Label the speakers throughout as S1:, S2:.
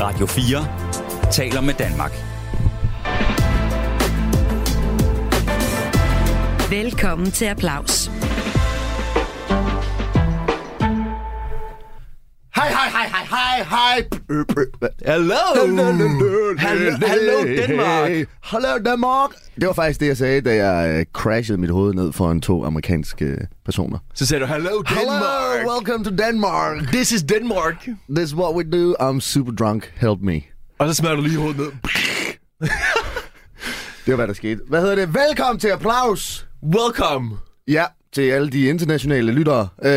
S1: Radio 4 taler med Danmark.
S2: Velkommen til Applaus.
S3: Hej, hej, hej, hej, hej, hej.
S4: Hello!
S3: Hallo, hallo Danmark.
S4: Hello Danmark!
S3: Det var faktisk det, jeg sagde, da jeg øh, crashede mit hoved ned foran to amerikanske personer.
S4: Så sagde du, hello Danmark!
S3: Hello, welcome to Denmark.
S4: This is Denmark!
S3: This is what we do. I'm super drunk. Help me.
S4: Og så smadrer du lige hovedet ned.
S3: Det var, hvad der skete. Hvad hedder det? Velkommen til applaus.
S4: Welcome!
S3: Ja, til alle de internationale lyttere. Uh,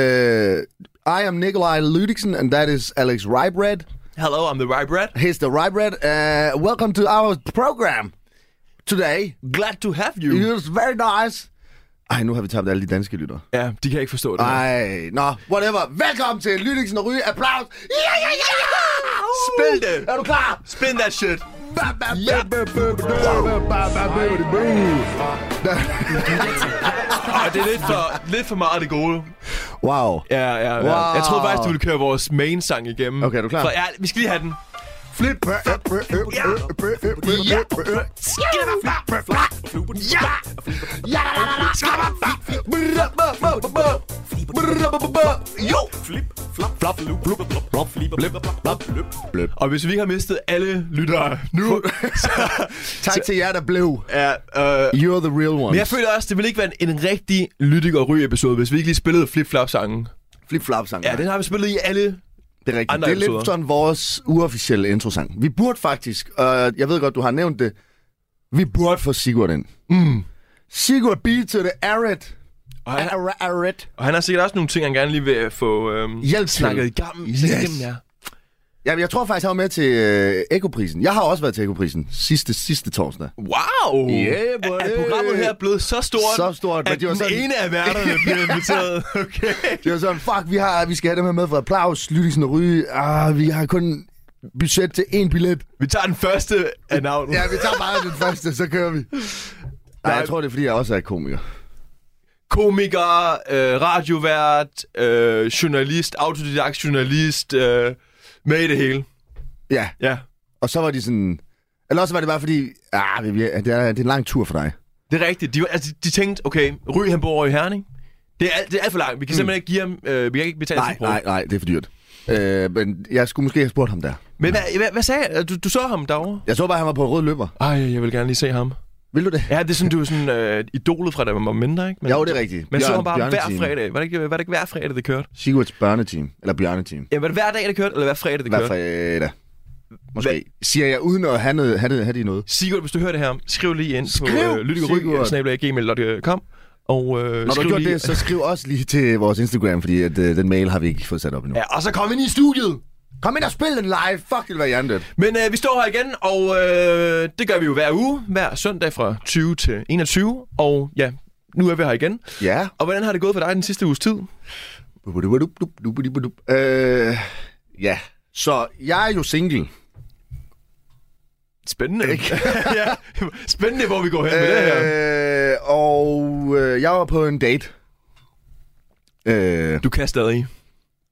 S3: I am Nikolaj Ludiksen, and that is Alex Rybred.
S4: Hello, I'm the right bread.
S3: He's the Rybred. Uh, welcome to our program today.
S4: Glad to have you.
S3: It was very nice. Ej, nu har vi tabt alle de danske lyttere.
S4: Ja, de kan ikke forstå det.
S3: Ej, nå, whatever. Velkommen til Lydingsen og Ryge. Applaus. Ja, ja, ja, ja! Uh!
S4: Spil det!
S3: Er du klar?
S4: Spin that shit!
S3: Ba, ba, ba,
S4: Ja.
S3: ba, ba, ba, ba, ba, ba, ba, ba, ba.
S4: Og det er lidt for, lidt for meget af det gode.
S3: Wow.
S4: Ja, ja, ja.
S3: Wow.
S4: Jeg troede faktisk, du ville køre vores main sang igennem.
S3: Okay, er du klar?
S4: For, ja, vi skal lige have den.
S3: Flip.
S4: Ja.
S3: Jo.
S4: Og hvis vi ikke har mistet alle lyttere nu, så...
S3: Tak til jer, der blev.
S4: Ja, øh,
S3: You're the real
S4: men
S3: ones.
S4: jeg føler også, det ville ikke være en, en rigtig lyttig og ryg episode, hvis vi ikke lige spillede flip-flop-sangen.
S3: Flip-flop-sang.
S4: Ja, den har vi spillet i alle
S3: Det er rigtigt.
S4: andre
S3: det er lidt
S4: episoder.
S3: sådan vores uofficielle introsang. Vi burde faktisk, og jeg ved godt, du har nævnt det, vi burde få Sigurd ind. Mm. Sigurd B to the Arret.
S4: Og han,
S3: Arret. Arret.
S4: og han har sikkert også nogle ting, han gerne lige vil få øhm,
S3: Hjælp til.
S4: snakket igennem.
S3: Yes.
S4: igennem ja.
S3: Jamen, jeg tror faktisk, han var med til øh, Ekoprisen. Jeg har også været til Ekoprisen sidste, sidste torsdag.
S4: Wow!
S3: Yeah, boy.
S4: er, er programmet her blevet så stort,
S3: Så stort, men
S4: at
S3: det var
S4: den
S3: sådan-
S4: ene af værterne bliver inviteret? Okay.
S3: Det var sådan, fuck, vi, har, vi skal have dem her med for applaus, Lyttisen og Ryge. Ah, vi har kun budget til én billet.
S4: Vi tager den første af navnet.
S3: Ja,
S4: Ja.
S3: vi tager bare den første, så kører vi. Nej, jeg tror, det er, fordi jeg også er komiker.
S4: Komiker, øh, radiovært, øh, journalist, autodidakt journalist, øh, med i det hele.
S3: Ja,
S4: Ja,
S3: Og så var de sådan... Eller også var det bare fordi, ah, det er, det er det er en lang tur for dig.
S4: det er rigtigt. De, var- altså, de tænkte, okay, Ry han bor over i Herning. Det er, alt, det er alt for langt. Vi kan mm. simpelthen ikke give ham, øh, vi kan ikke betale
S3: Nej,
S4: sin bror.
S3: nej, nej, det er for dyrt. Øh, men jeg skulle måske have spurgt ham der.
S4: Men hvad, hvad, hvad sagde jeg? Du, du så ham derovre?
S3: Jeg så bare, han var på en rød løber.
S4: Ej, jeg vil gerne lige se ham.
S3: Vil du det?
S4: Ja, det er sådan, du er sådan øh, idolet fra, da man var mindre, ikke? Men,
S3: Jo, det er rigtigt.
S4: Men så
S3: Bjørn-
S4: var bare hver
S3: Bjørneteam.
S4: fredag. Var det, ikke, var det ikke hver fredag, det kørte?
S3: Sigurds børneteam. Eller bjørneteam.
S4: Ja, var det hver dag, det kørte, eller hver fredag, det
S3: Hver
S4: kørte?
S3: fredag. øh, Måske. Siger jeg uden at have, noget, have, det, have de noget?
S4: Sigurd, hvis du hører det her, skriv lige ind
S3: Skriv,
S4: på øh,
S3: Sigurd.
S4: lytteryg.gmail.com og
S3: Når
S4: øh,
S3: du
S4: skriv
S3: har gjort
S4: lige...
S3: det, så skriv også lige til vores Instagram, fordi at, øh, den mail har vi ikke fået sat op endnu.
S4: Ja, og så kom ind i studiet!
S3: Kom ind og spil den live. Fuck, det var hjernedødt.
S4: Men øh, vi står her igen, og øh, det gør vi jo hver uge, hver søndag fra 20 til 21, og ja, nu er vi her igen.
S3: Ja.
S4: Og hvordan har det gået for dig den sidste uges tid?
S3: Øh, ja. Så jeg er jo single.
S4: Spændende. Ikke? Øh, ja, spændende, hvor vi går hen øh... med det her.
S3: Øh, og øh, jeg var på en date. Øh,
S4: Du kan stadig.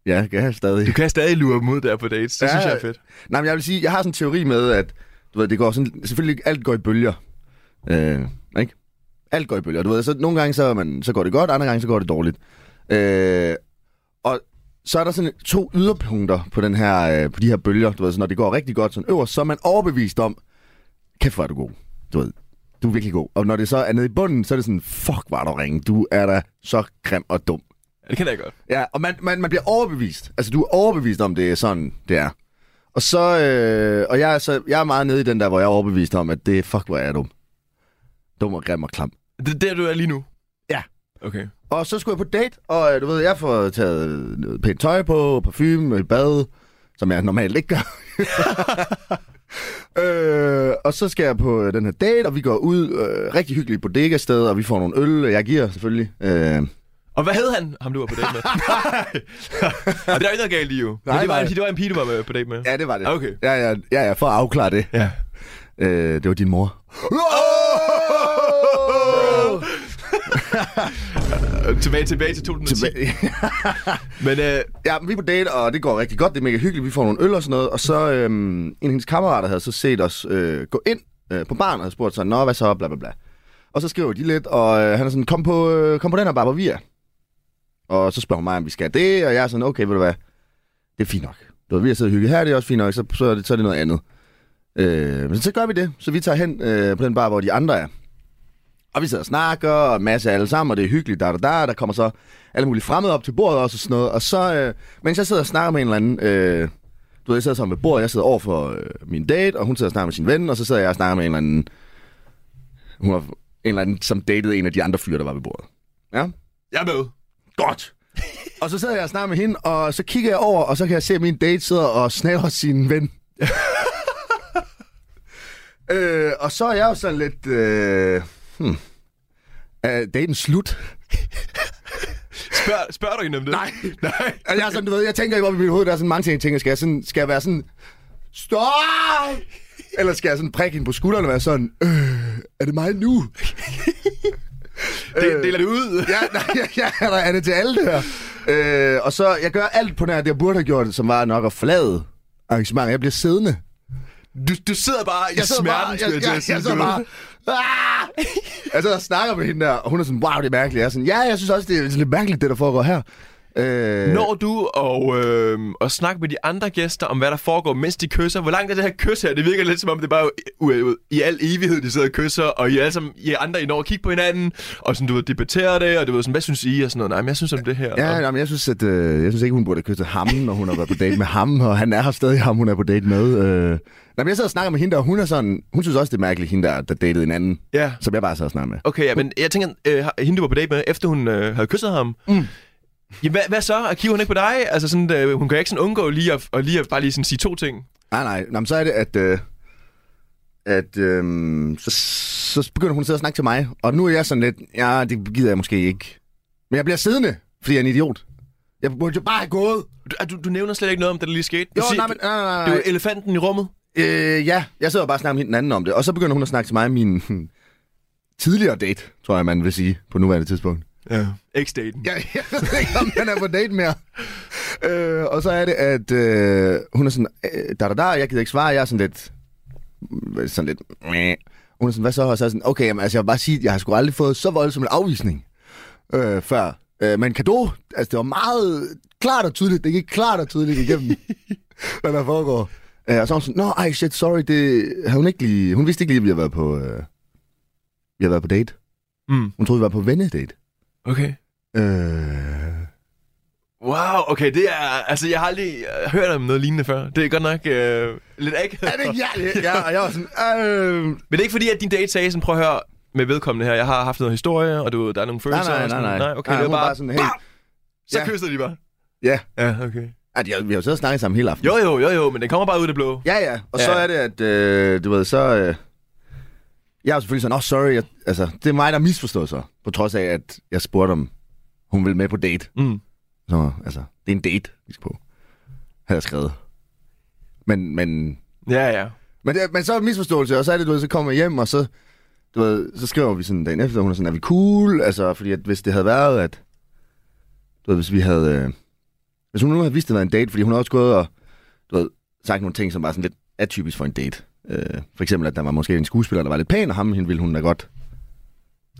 S3: ja, jeg kan stadig.
S4: Du kan stadig lure dem ud der på dates. Det ja. synes jeg er fedt.
S3: Nej, men jeg vil sige, jeg har sådan en teori med, at du ved, det går sådan, selvfølgelig alt går i bølger. Øh, ikke? Alt går i bølger. Du ved, så nogle gange så, er man, så går det godt, andre gange så går det dårligt. Øh, og så er der sådan to yderpunkter på, den her, øh, på de her bølger. Du ved, så når det går rigtig godt sådan øverst, så er man overbevist om, kæft hvor er du god. Du ved, du er virkelig god. Og når det så er nede i bunden, så er det sådan, fuck var du ringe. Du er da så grim og dum.
S4: Ja, det kender jeg godt.
S3: Ja, og man, man, man bliver overbevist. Altså, du er overbevist om, det er sådan, det er. Og så, øh, og jeg er, så, jeg er meget nede i den der, hvor jeg er overbevist om, at det er, fuck, hvor er jeg dum. Dum og grim og klam.
S4: Det er der, du er lige nu?
S3: Ja.
S4: Okay.
S3: Og så skulle jeg på date, og øh, du ved, jeg får taget noget pænt tøj på, parfume, et bad, som jeg normalt ikke gør. øh, og så skal jeg på øh, den her date, og vi går ud, øh, rigtig hyggeligt bodega-sted, og vi får nogle øl, og jeg giver selvfølgelig. Øh,
S4: Og hvad hed han, ham du var på date med? nej! Og det er jo ikke noget galt i jo. Men
S3: Nej,
S4: det, var,
S3: nej.
S4: en- det var en pige, du var med, på date med.
S3: ja, det var det.
S4: Okay.
S3: Ja, ja, ja, ja, for at afklare det.
S4: Ja.
S3: Øh, det var din mor.
S4: tilbage, tilbage til 2010. Tilbage.
S3: Tilbage.
S4: Men øh,
S3: Ja, men vi er på date, og det går rigtig godt. Det er mega hyggeligt. Vi får nogle øl og sådan noget. Og så øhm, en af hendes kammerater havde så set os øh, gå ind øh, på baren og havde spurgt sig, Nå, hvad så? Bla, bla, bla. Og så skriver de lidt, og øh, han er sådan, kom på, øh, kom på den her bar, hvor vi er. Og så spørger hun mig, om vi skal det, og jeg er sådan, okay, ved du hvad, det er fint nok. Du ved, vi har siddet og hygget her, det er også fint nok, så, så, er, det, så er det noget andet. Øh, men så gør vi det, så vi tager hen øh, på den bar, hvor de andre er. Og vi sidder og snakker, og en masse alle sammen, og det er hyggeligt, der, der, der, der kommer så alle mulige fremmede op til bordet også og sådan noget. Og så, øh, mens jeg sidder og snakker med en eller anden, øh, du ved, jeg sidder sammen ved bordet, jeg sidder over for øh, min date, og hun sidder og snakker med sin ven, og så sidder jeg og snakker med en eller anden, hun var en eller anden, som datede en af de andre fyre, der var ved bordet. Ja?
S4: jeg er med.
S3: Godt! og så sidder jeg og snakker med hende, og så kigger jeg over, og så kan jeg se, at min date sidder og snaver sin ven. øh, og så er jeg jo sådan lidt... Øh, hmm. Er daten slut?
S4: Spørg, spørger du hende om det?
S3: Nej.
S4: Nej.
S3: Og Altså, jeg, er sådan, du ved, jeg tænker ikke op i mit hoved, der er sådan mange ting, jeg tænker, skal jeg, sådan, skal jeg være sådan, stop! Eller skal jeg sådan prikke hende på skulderen og være sådan, øh, er det mig nu?
S4: Det, deler det ud.
S3: Øh, ja, nej, ja, ja, der er det til alle det her. Øh, og så, jeg gør alt på nær det, jeg burde have gjort, som var nok at flade arrangementet. Jeg bliver siddende.
S4: Du, du sidder bare i smerten, skulle
S3: jeg,
S4: til
S3: jeg,
S4: at
S3: jeg,
S4: sige,
S3: jeg
S4: du
S3: sidder
S4: ved.
S3: bare, ah! Jeg sidder og snakker med hende der, og hun er sådan, wow, det er mærkeligt. Jeg er sådan, ja, jeg synes også, det er lidt mærkeligt, det der foregår her. Øh,
S4: Når du og, øh, og snakke med de andre gæster om, hvad der foregår, mens de kysser? Hvor langt er det her kys her? Det virker lidt som om, det er bare u- u- i al evighed, de sidder og kysser, og I, alle sammen, I andre, I når at kigge på hinanden, og sådan, du ved, debatterer det, og du ved, sådan, hvad synes I? Og sådan noget. Nej, men jeg synes om det her.
S3: Ja,
S4: og,
S3: nej, men jeg synes, at, øh, jeg synes ikke, hun burde have kysset ham, når hun har været på date med ham, og han er her stadig ham, hun er på date med. Øh. Nej, men jeg sidder og snakker med hende, og hun er sådan, hun synes også, det er mærkeligt, hende der, der datede en anden,
S4: ja.
S3: som jeg bare sad og snakkede med.
S4: Okay, ja, men jeg tænker, øh, hende du var på date med, efter hun øh, havde kysset ham. Mm. Jamen, hvad, hvad så? Og kigger hun ikke på dig? Altså, sådan, øh, hun kan ikke sådan undgå lige at, og lige at bare lige sådan sige to ting.
S3: Nej, nej, nej men så er det, at, øh, at øh, så, så begynder hun at sidde og snakke til mig, og nu er jeg sådan lidt, ja, det gider jeg måske ikke. Men jeg bliver siddende, fordi jeg er en idiot. Jeg burde jo bare have gået.
S4: Du, du, du nævner slet ikke noget om det, der lige skete. Du
S3: Jo,
S4: siger-
S3: nej, men, nej, nej, nej.
S4: Det er jo elefanten i rummet.
S3: Øh, ja, jeg sidder bare og snakker med hende den anden om det, og så begynder hun at snakke til mig om min hm, tidligere date, tror jeg, man vil sige, på nuværende tidspunkt.
S4: Ja. X-daten.
S3: Jeg, jeg ved ikke, om han er på date mere. Øh, og så er det, at øh, hun er sådan, øh, da da da, jeg gider ikke svare, jeg er sådan lidt, sådan lidt, meh. Hun er sådan, hvad så? Og så er jeg sådan, okay, jamen, altså, jeg vil bare sige, at jeg har sgu aldrig fået så voldsom en afvisning øh, før. Øh, men kado, altså, det var meget klart og tydeligt, det gik klart og tydeligt igennem, hvad der foregår. Øh, og så er hun sådan, nå, ej, shit, sorry, det havde hun ikke lige, hun vidste ikke lige, at vi havde været på, øh, vi havde været på date.
S4: Mm.
S3: Hun troede, vi var på vennedate.
S4: Okay.
S3: Øh,
S4: Wow, okay, det er... Altså, jeg har aldrig øh, hørt om noget lignende før. Det er godt nok øh, lidt ikke.
S3: er det ikke jeg? Ja, og jeg var sådan, øh...
S4: Men det er ikke fordi, at din date sagde sådan, prøv at høre med vedkommende her. Jeg har haft noget historie, og du, der er nogle
S3: Nej,
S4: følelser.
S3: nej,
S4: og
S3: nej,
S4: sådan,
S3: nej.
S4: nej okay,
S3: nej,
S4: det
S3: hun
S4: var bare...
S3: sådan helt...
S4: Så
S3: Ja.
S4: kysser de bare.
S3: Ja,
S4: Ja, okay.
S3: Ej, de har- vi har jo siddet og snakket sammen hele aftenen.
S4: Jo, jo, jo, jo, men den kommer bare ud af det blå.
S3: Ja, ja. Og så
S4: Ja.
S3: er det, at øh, du ved, så... Øh, jeg er jo selvfølgelig sådan, åh, oh, sorry. Jeg, altså, det er mig, der misforstod sig. På trods af, at jeg spurgte, om hun ville med på date.
S4: Mm.
S3: Så, altså, det er en date, vi skal på. Havde jeg skrevet. Men, men
S4: Ja, ja.
S3: Men, det, men så er det misforståelse, og så er det, du ved, så kommer jeg hjem, og så, du ved, så skriver vi sådan dagen efter, og hun er sådan, er vi cool? Altså, fordi at hvis det havde været, at, du ved, hvis vi havde, øh, hvis hun nu havde vidst, det var en date, fordi hun har også gået og, du ved, sagt nogle ting, som var sådan lidt atypisk for en date. Øh, for eksempel, at der var måske en skuespiller, der var lidt pæn, og ham hende ville hun da godt.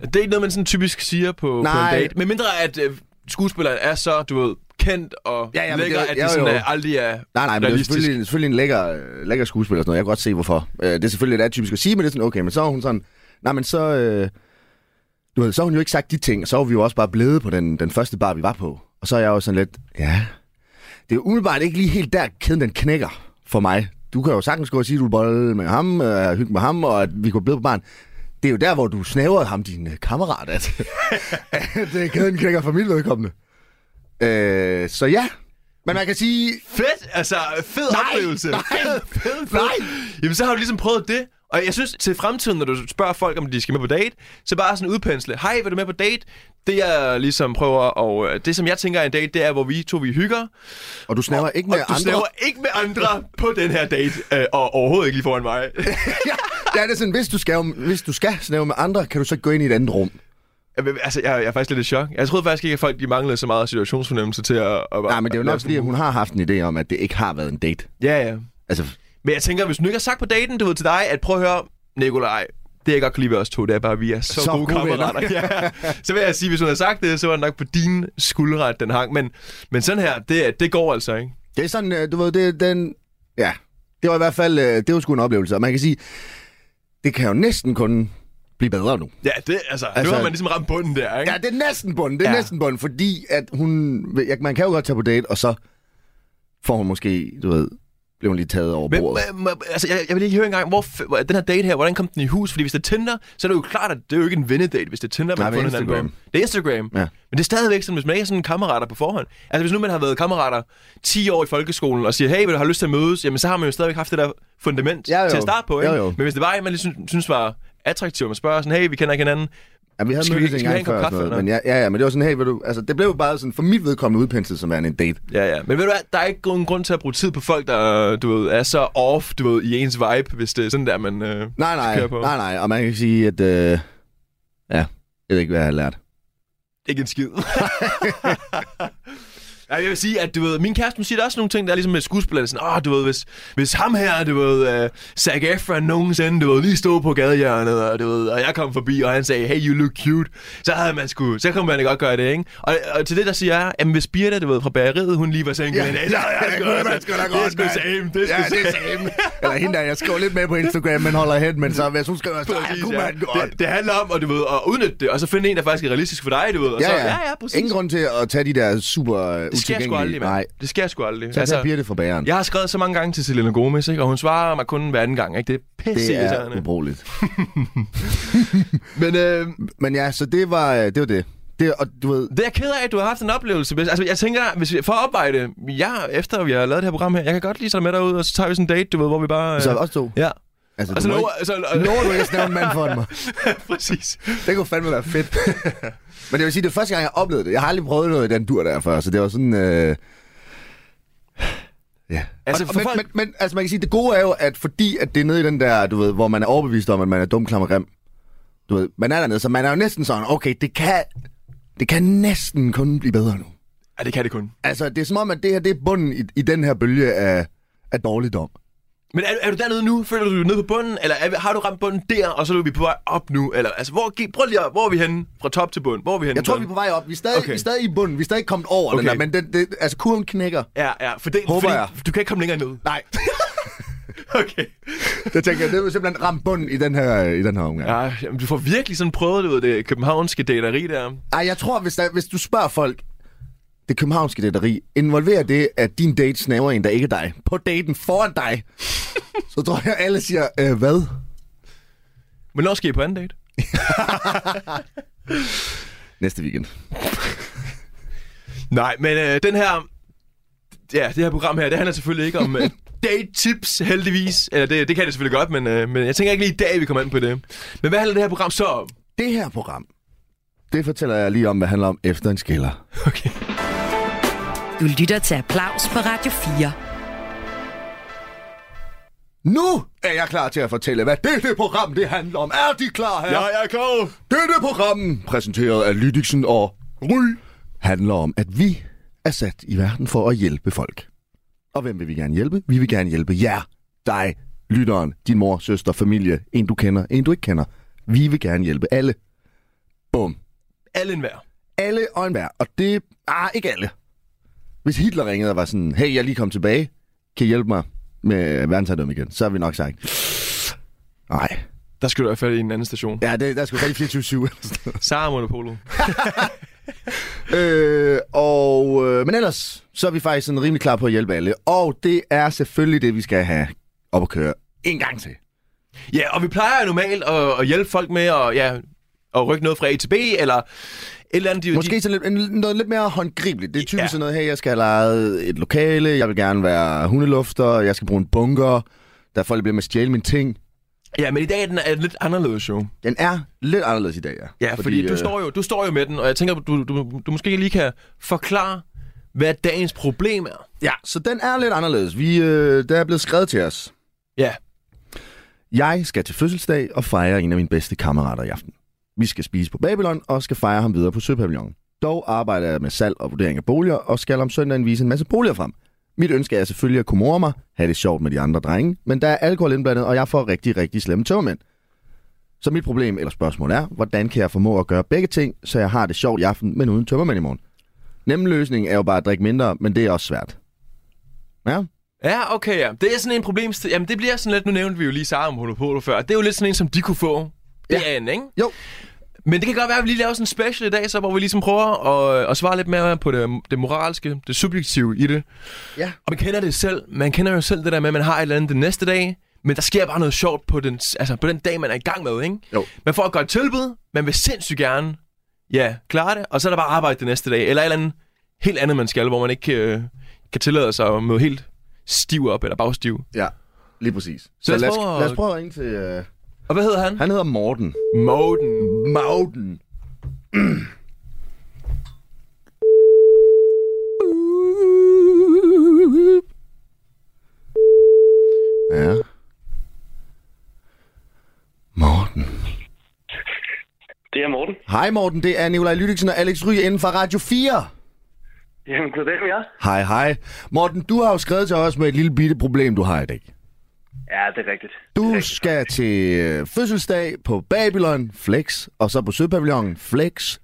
S4: Det er ikke noget, man sådan typisk siger på, på
S3: Nej.
S4: en date. Men mindre at øh, skuespilleren er så, du ved, kendt og
S3: Ja, ja, men
S4: lækker,
S3: det-
S4: at de
S3: jo,
S4: sådan
S3: jo.
S4: er, aldrig er...
S3: Nej, nej, men det er jo
S4: Realistisk.
S3: selvfølgelig, selvfølgelig en lækker, øh, lækker skuespiller og sådan noget. Jeg kan godt se, hvorfor. Øh, det er selvfølgelig lidt atypisk at sige, men det er sådan, okay, men så er hun sådan, nej, men så... Øh, du ved, så har hun jo ikke sagt de ting, og så var vi jo også bare blevet på den, den første bar, vi var på. Og så er jeg jo sådan lidt, ja... Det er jo umiddelbart ikke lige helt der, kæden den knækker for mig. Du kan jo sagtens gå og sige, at du vil bolle med ham, øh, hygge med ham, og at vi kunne blive på barn. Det er jo der, hvor du snævrede ham, din øh, kammerat, at, at øh, kæden knækker for mit vedkommende. Øh, så ja, men man kan sige,
S4: Fedt! Altså, fed oplevelse.
S3: nej,
S4: Fed, fed, fed.
S3: nej.
S4: Jamen, så har du ligesom prøvet det. Og jeg synes, til fremtiden, når du spørger folk, om de skal med på date, så bare sådan udpensle. Hej, vil du med på date? Det jeg ligesom prøver, og øh, det som jeg tænker er en date, det er, hvor vi to vi hygger.
S3: Og du snæver ikke med
S4: og du
S3: andre.
S4: snæver ikke med andre på den her date, øh, og overhovedet ikke lige foran mig.
S3: ja, det er sådan, hvis du, skal, hvis du skal snæve med andre, kan du så gå ind i et andet rum.
S4: Jamen, Altså, jeg, jeg er faktisk lidt i chok. Jeg troede faktisk ikke, at folk de manglede så meget situationsfornemmelse til at... at
S3: Nej, men det er jo nok fordi, at hun har haft en idé om, at det ikke har været en date.
S4: Ja, ja.
S3: Altså,
S4: Men jeg tænker, hvis du ikke har sagt på daten, du ved til dig, at prøv at høre, Nikolaj, det jeg godt kan lide ved os to, det er bare, at vi er så,
S3: Så
S4: så gode,
S3: gode
S4: kammerater. ja. Så vil jeg sige, hvis hun havde sagt det, så var det nok på dine skuldre, at den hang. Men, men sådan her, det, det går altså, ikke?
S3: det er sådan, øh, du ved, det er den... Ja, det var i hvert fald, øh, det var sgu en oplevelse. Og man kan sige, det kan jo næsten kun blive bedre nu.
S4: Ja, det, altså, altså,
S3: Altså-
S4: nu har man ligesom ramt bunden der, ikke?
S3: Ja, det er næsten bunden, det er
S4: Ja.
S3: ja. næsten bunden, fordi at hun... ja, Man kan jo godt tage på date, og så får hun måske, du ved, bliver hun lige taget over
S4: Men,
S3: bordet.
S4: men, men, altså, jeg, jeg vil lige høre engang, hvor, f- hvor- den her date her, hvordan kom den i hus? Fordi hvis det er Tinder, så er det jo klart, at det er jo ikke en vennedate, hvis det er Tinder, man
S3: Nej,
S4: har
S3: men
S4: fundet hinanden på.
S3: Instagram.
S4: Det er Instagram.
S3: Ja.
S4: Men det er stadigvæk sådan, hvis man ikke er sådan kammerater på forhånd. Altså hvis nu man har været kammerater 10 år i folkeskolen og siger, hey, vil du have lyst til at mødes? Jamen så har man jo stadigvæk haft det der fundament
S3: Ja, jo.
S4: til at starte på, ikke?
S3: Jo, jo.
S4: Men hvis det var en, man lige synes, synes var attraktiv, og man spørger sådan, hey, vi kender ikke hinanden.
S3: Ja, vi havde
S4: Skal vi-
S3: mødtes
S4: skal
S3: en
S4: vi have
S3: gang
S4: en kop
S3: før, og
S4: kaffe,
S3: sådan noget, men
S4: eller?
S3: ja, ja, ja, men det var sådan, hey, ved du, altså, det blev jo bare sådan, for mit vedkommende udpenslet som værende en date.
S4: Ja, ja. Men ved du hvad, der er ikke nogen grund til at bruge tid på folk, der du ved, er så off du ved, i ens vibe, hvis det er sådan der, man... Øh...
S3: Nej,
S4: køre
S3: nej,
S4: på.
S3: nej, nej, og man kan sige, at, øh, ja, jeg ved ikke, hvad jeg har lært.
S4: Ikke en skid. Nej, jeg vil sige, at du ved, min kæreste, hun siger der er også nogle ting, der er ligesom med skuespillerne. Sådan, åh, du ved, hvis, hvis ham her, du ved, uh, Zac Efron nogensinde, du ved, lige stod på gadehjørnet, og, du ved, og jeg kom forbi, og han sagde, hey, you look cute, så havde man sgu, så kunne man godt gøre det, ikke? Og, og til det, der siger jeg, at hvis Birte, du ved, fra bageriet, hun lige var sengen ja, i dag, så havde jeg sgu, også- det er sgu same, det er sgu same.
S3: same. Eller hende der, jeg skriver lidt med på Instagram, men holder hen, men så hvis hun skriver, så
S4: Præcis,
S3: kunne
S4: ja.
S3: man godt.
S4: Det, det, handler om at, du ved, at udnytte det, og så finde en, der faktisk er realistisk for dig, du ved. Og så,
S3: Ja,
S4: ja, ja, præcis.
S3: Ingen grund til at tage de der super øh,
S4: Det sker sgu aldrig,
S3: utilgængelige.
S4: mand.
S3: Nej,
S4: Det sker sgu aldrig.
S3: så altså, bliver det for bæren.
S4: jeg har skrevet så mange gange til Selena Gomez, ikke? og hun svarer mig kun hver anden gang. Ikke? Det er pisse
S3: Det
S4: irriterende.
S3: er ubrugeligt.
S4: Men øh,
S3: Men ja, så det var øh, det. Var det. det og du ved,
S4: det er jeg ked af, at du har haft en oplevelse. Hvis- Altså, jeg tænker, hvis vi, for at opveje det, jeg, efter vi har lavet det her program her, jeg kan godt lige tage dig med derud, og så tager vi sådan en date, du ved, hvor vi bare... Øh,
S3: så også to.
S4: ja.
S3: Altså,
S4: Og så
S3: du må
S4: lover,
S3: ikke-
S4: så,
S3: lover du ikke at snævne en mand for mig.
S4: præcis.
S3: Det kunne fandme være fedt. Men jeg vil sige, det er første gang, jeg oplevede det. Jeg har aldrig prøvet noget i den dur der før, så det var sådan... Øh... Ja.
S4: Altså,
S3: Altså,
S4: for
S3: men,
S4: folk-
S3: men, men altså, man kan sige, det gode er jo, at fordi at det er nede i den der, du ved, hvor man er overbevist om, at man er dum, klam og grim. Du ved, man er dernede, så man er jo næsten sådan, okay, det kan, det kan næsten kun blive bedre nu.
S4: Ja, det kan det kun.
S3: Altså, det er som om, at det her, det er bunden i, i den her bølge af, af dårligdom.
S4: Men er, er du dernede nu? Føler du, du er nede på bunden? Eller er, har du ramt bunden der, og så er vi på vej op nu? Eller, altså, hvor, gi- prøv lige at, hvor er vi henne? Fra top til bund. Hvor er vi henne?
S3: Jeg tror, vi er på vej op. Vi er stadig,
S4: Okay.
S3: okay. vi er stadig i bunden. Vi er stadig ikke kommet over okay.
S4: Okay.
S3: den der, men den, det, altså, kurven knækker.
S4: Ja, ja. For det,
S3: Håber
S4: fordi,
S3: jeg.
S4: Du kan ikke komme længere ned.
S3: Nej.
S4: Okay.
S3: Jeg tænker, det er simpelthen ramt bunden i den her, i den her omgang. Ja.
S4: Ja, jamen, du får virkelig sådan prøvet det, ved det københavnske dateri der.
S3: Ej, jeg tror, hvis, der, hvis du spørger folk, det københavnske dateri, involverer det, at din date snaver en, der ikke er dig, på daten foran dig, så tror jeg, alle siger, øh, hvad?
S4: Hvornår skal I på anden date?
S3: Næste weekend.
S4: Nej, men øh, den her... Ja, det her program her, det handler selvfølgelig ikke om øh, date-tips, heldigvis. Eller det, det kan det selvfølgelig godt, men, øh, men jeg tænker ikke lige i dag, vi kommer ind på det. Men hvad handler det her program så om?
S3: Det her program, det fortæller jeg lige om, hvad handler om efter en skiller.
S4: Okay.
S2: Du lytter til Applaus på Radio 4.
S3: Nu er jeg klar til at fortælle, hvad dette program det handler om. Er de klar her?
S4: jeg er klar.
S3: Dette program, præsenteret af Lydiksen og Ry, handler om, at vi er sat i verden for at hjælpe folk. Og hvem vil vi gerne hjælpe? Vi vil gerne hjælpe jer, dig, lytteren, din mor, søster, familie, en du kender, en du ikke kender. Vi vil gerne hjælpe alle. Bum.
S4: Alle enhver.
S3: Alle og enhver. Og det... Ah, ikke alle. Hvis Hitler ringede og var sådan, hey, jeg er lige kom tilbage, kan I hjælpe mig med verdensherredøm igen? Så har vi nok sagt, nej.
S4: Der skal du være fat i en anden station. Ja.
S3: Ja, det, der skulle rigtig 24-7.
S4: Sara Monopolo.
S3: Øh, og, øh, men ellers, så er vi faktisk sådan rimelig klar på at hjælpe alle. Og det er selvfølgelig det, vi skal have op at køre en gang til.
S4: Ja, og vi plejer jo normalt at, at hjælpe folk med at, ja, at rykke noget fra A til B, eller et eller andet. de-
S3: Måske sådan lidt, en- noget lidt mere håndgribeligt. Det er typisk
S4: Ja.
S3: ja. sådan noget, her, jeg skal have lejet et lokale, jeg vil gerne være hundelufter, jeg skal bruge en bunker, der er folk, der bliver med at stjæle mine ting.
S4: De, ja, men i dag er den er lidt anderledes show.
S3: Den er lidt anderledes i dag, ja.
S4: Ja, fordi, fordi du,
S3: øh,
S4: står jo, du står jo med den, og jeg tænker, du, du, du måske lige kan forklare, hvad dagens problem er.
S3: Ja, så den er lidt anderledes. Vi, øh, der er blevet skrevet til os.
S4: Ja.
S3: Jeg skal til fødselsdag og fejre en af mine bedste kammerater i aften. Vi skal spise på Babylon og skal fejre ham videre på Søpavillonen. Dog arbejder jeg med salg og vurdering af boliger, og skal om søndagen vise en masse boliger frem. Mit ønske er selvfølgelig at kunne more mig, have det sjovt med de andre drenge, men der er alkohol indblandet, og jeg får rigtig, rigtig slemme tømmermænd. Så mit problem eller spørgsmål er, hvordan kan jeg formå at gøre begge ting, så jeg har det sjovt i aften, men uden tømmermænd i morgen? Nemme løsning er jo bare at drikke mindre, men det er også svært. Ja,
S4: Ja, okay, ja. Det er sådan en problemstilling. Jamen, det bliver sådan lidt, nu nævnte vi jo lige Sara om Holopolo før. Det er jo lidt sådan en, som de kunne få. Det
S3: Ja.
S4: er en, ikke?
S3: Jo.
S4: Men det kan godt være, at vi lige laver sådan en special i dag, så hvor vi ligesom prøver at, at svare lidt mere på det, det moralske, det subjektive i det.
S3: Ja.
S4: Og man kender det selv. Man kender jo selv det der med, at man har et eller andet den næste dag, men der sker bare noget sjovt på den, altså på den dag, man er i gang med, ikke?
S3: Jo.
S4: Man får et godt tilbud, man vil sindssygt gerne, ja, klare det, og så er der bare arbejde den næste dag, eller et eller andet helt andet, man skal, hvor man ikke øh, kan tillade sig at møde helt stiv op, eller bagstiv.
S3: ja. Lige præcis. Så,
S4: lad os
S3: lad, os,
S4: prøve at-
S3: lad os prøve at ringe til... Øh...
S4: Og hvad hedder han?
S3: Han hedder Morten.
S4: Morten.
S3: Morten. Ja. Morten.
S5: Det er Morten.
S3: Hej Morten, det er Nikolaj Lydiksen og Alex Ry inden for Radio 4.
S5: Jamen, goddag med jer.
S3: Hej, hej. Morten, du har jo skrevet til os med et lille bitte problem, du har i dag.
S5: Ja, det er rigtigt.
S3: Du skal til øh, fødselsdag på Babylon Flex, og så på Sydpavillonen Flex.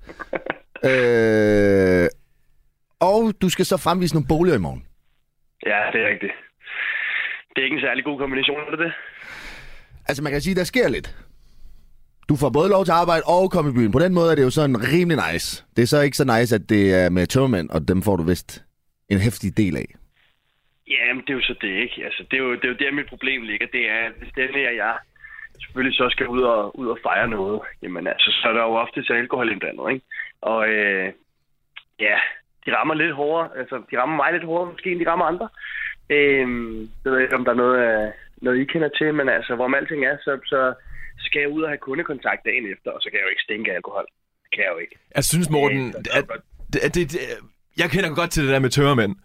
S3: øh, og du skal så fremvise nogle boliger i morgen.
S5: Ja, det er rigtigt. Det er ikke en særlig god kombination, er det det?
S3: Altså man kan sige, der sker lidt. Du får både lov til at arbejde og komme i byen. På den måde er det jo sådan rimelig nice. Det er så ikke så nice, at det er med tømmermænd, og dem får du vist en hæftig del af.
S5: Jamen, det er jo så det, ikke? Altså, det er jo, det er jo der, mit problem ligger. Det er, at hvis den her, jeg selvfølgelig så skal ud og, ud og fejre noget, jamen altså, så er der jo ofte til alkohol indblandet, ikke? Og øh, ja, de rammer lidt hårdere. Altså, de rammer mig lidt hårdere, måske, end de rammer andre. Øh, jeg ved ikke, om der er noget, øh, noget I kender til, men altså, hvorom alting er, så, så skal jeg ud og have kundekontakt dagen efter, og så kan jeg jo ikke stinke af alkohol. Det kan jeg jo ikke.
S4: Jeg synes, Morten,
S5: Ja, det er
S4: at, det, det, det, jeg kender godt til det der med tørmænd.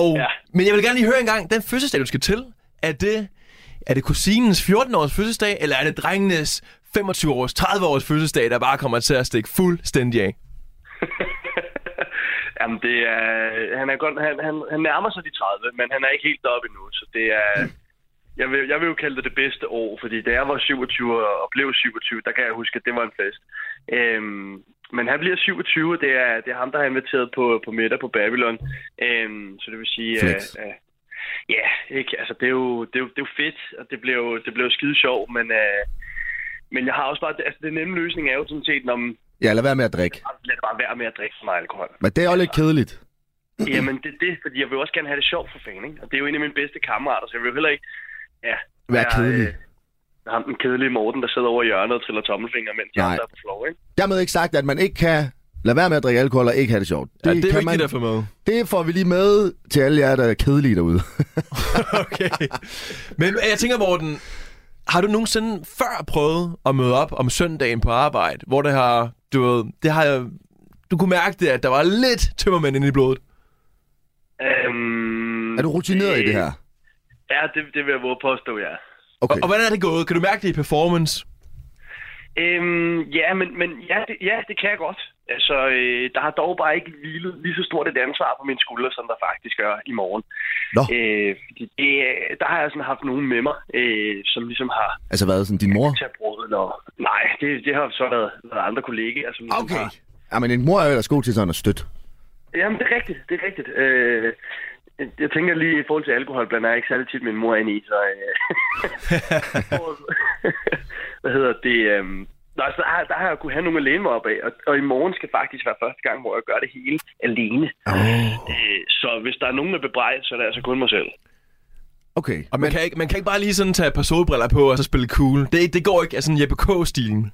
S4: Og, ja.
S5: Ja.
S4: Men jeg vil gerne lige høre en gang, den fødselsdag, du skal til, er det, er det kusinens 14-års fødselsdag, eller er det drengenes 25-års, 30-års fødselsdag, der bare kommer til at stikke fuldstændig af?
S5: Jamen, det er, han, er godt, han, han, han nærmer sig de 30, men han er ikke helt deroppe endnu, så det er... Jeg vil, jeg vil jo kalde det det bedste år, fordi da jeg var 27 og blev 27, der kan jeg huske, at det var en fest. Øhm, men han bliver 27, og det er, det er ham, der har inviteret på, på middag på Babylon. Øhm, så det vil sige...
S3: Flex.
S5: øh, øh, Ja, ikke? Altså, det er, jo, det, er jo, det er jo fedt, og det blev, det blev skide sjov, men, øh, men jeg har også bare... Altså, den nemme løsning er jo sådan set, når man
S3: Ja, lad være med at drikke.
S5: lad det bare være med at drikke så meget alkohol.
S3: Men det er jo lidt kedeligt.
S5: Jamen, det er det, fordi jeg vil jo også gerne have det sjovt for fanden, ikke? Og det er jo en af mine bedste kammerater, så jeg vil jo heller ikke... Ja,
S3: Vær kedelig.
S5: Øh, ham den kedelige Morten, der sidder over i hjørnet og triller tommelfinger, mens de
S3: Nej.
S5: andre er på floor, ikke?
S3: Dermed ikke sagt, at man ikke kan lade være med at drikke alkohol og ikke have det sjovt.
S4: Det, ja, det er
S3: kan
S4: vigtigt man... at få med.
S3: Det får vi lige med til alle jer, der er kedelige derude.
S4: Okay. Men jeg tænker, Morten, har du nogensinde før prøvet at møde op om søndagen på arbejde, hvor det har, du ved, det har, du kunne mærke det, at der var lidt tømmermænd inde i blodet?
S5: Øhm,
S3: Er du rutineret i det her?
S5: Ja, det, det vil jeg våge påstå, ja.
S4: Okay.
S3: Okay.
S4: Og, og hvordan er det gået? Kan du mærke det i performance?
S5: Øhm, ja, men, men ja, det, ja, det kan jeg godt. Altså, øh, der har dog bare ikke lige, lige så stort et ansvar på mine skuldre, som der faktisk gør i morgen.
S3: Nå.
S5: Øh, fordi det, der har jeg sådan haft nogen med mig, øh, som ligesom har,
S3: Altså hvad, sådan din mor?
S5: tage brød, eller... Nej, det, det har så været, været andre kollegaer, som ligesom har...
S3: Ja, men en mor er jo ellers god til sådan at støtte.
S5: Jamen, det er rigtigt, det er rigtigt. Øh, jeg tænker lige i forhold til alkohol, blandt andet er ikke særlig tit min mor er inde i, så... Øh, Hvad hedder det? Øh, nej, så der, har- der har jeg kunnet have nogen at læne mig op af, og, og i morgen skal faktisk være første gang, hvor jeg gør det hele alene.
S3: Oh.
S5: Øh, så hvis der er nogen, der bebrejder, så er det altså kun mig selv.
S3: Okay.
S4: Og man, men... kan ikke, man kan ikke bare lige sådan tage et par solbriller på og så spille cool. Det, det går ikke af sådan Jeppe K-stilen.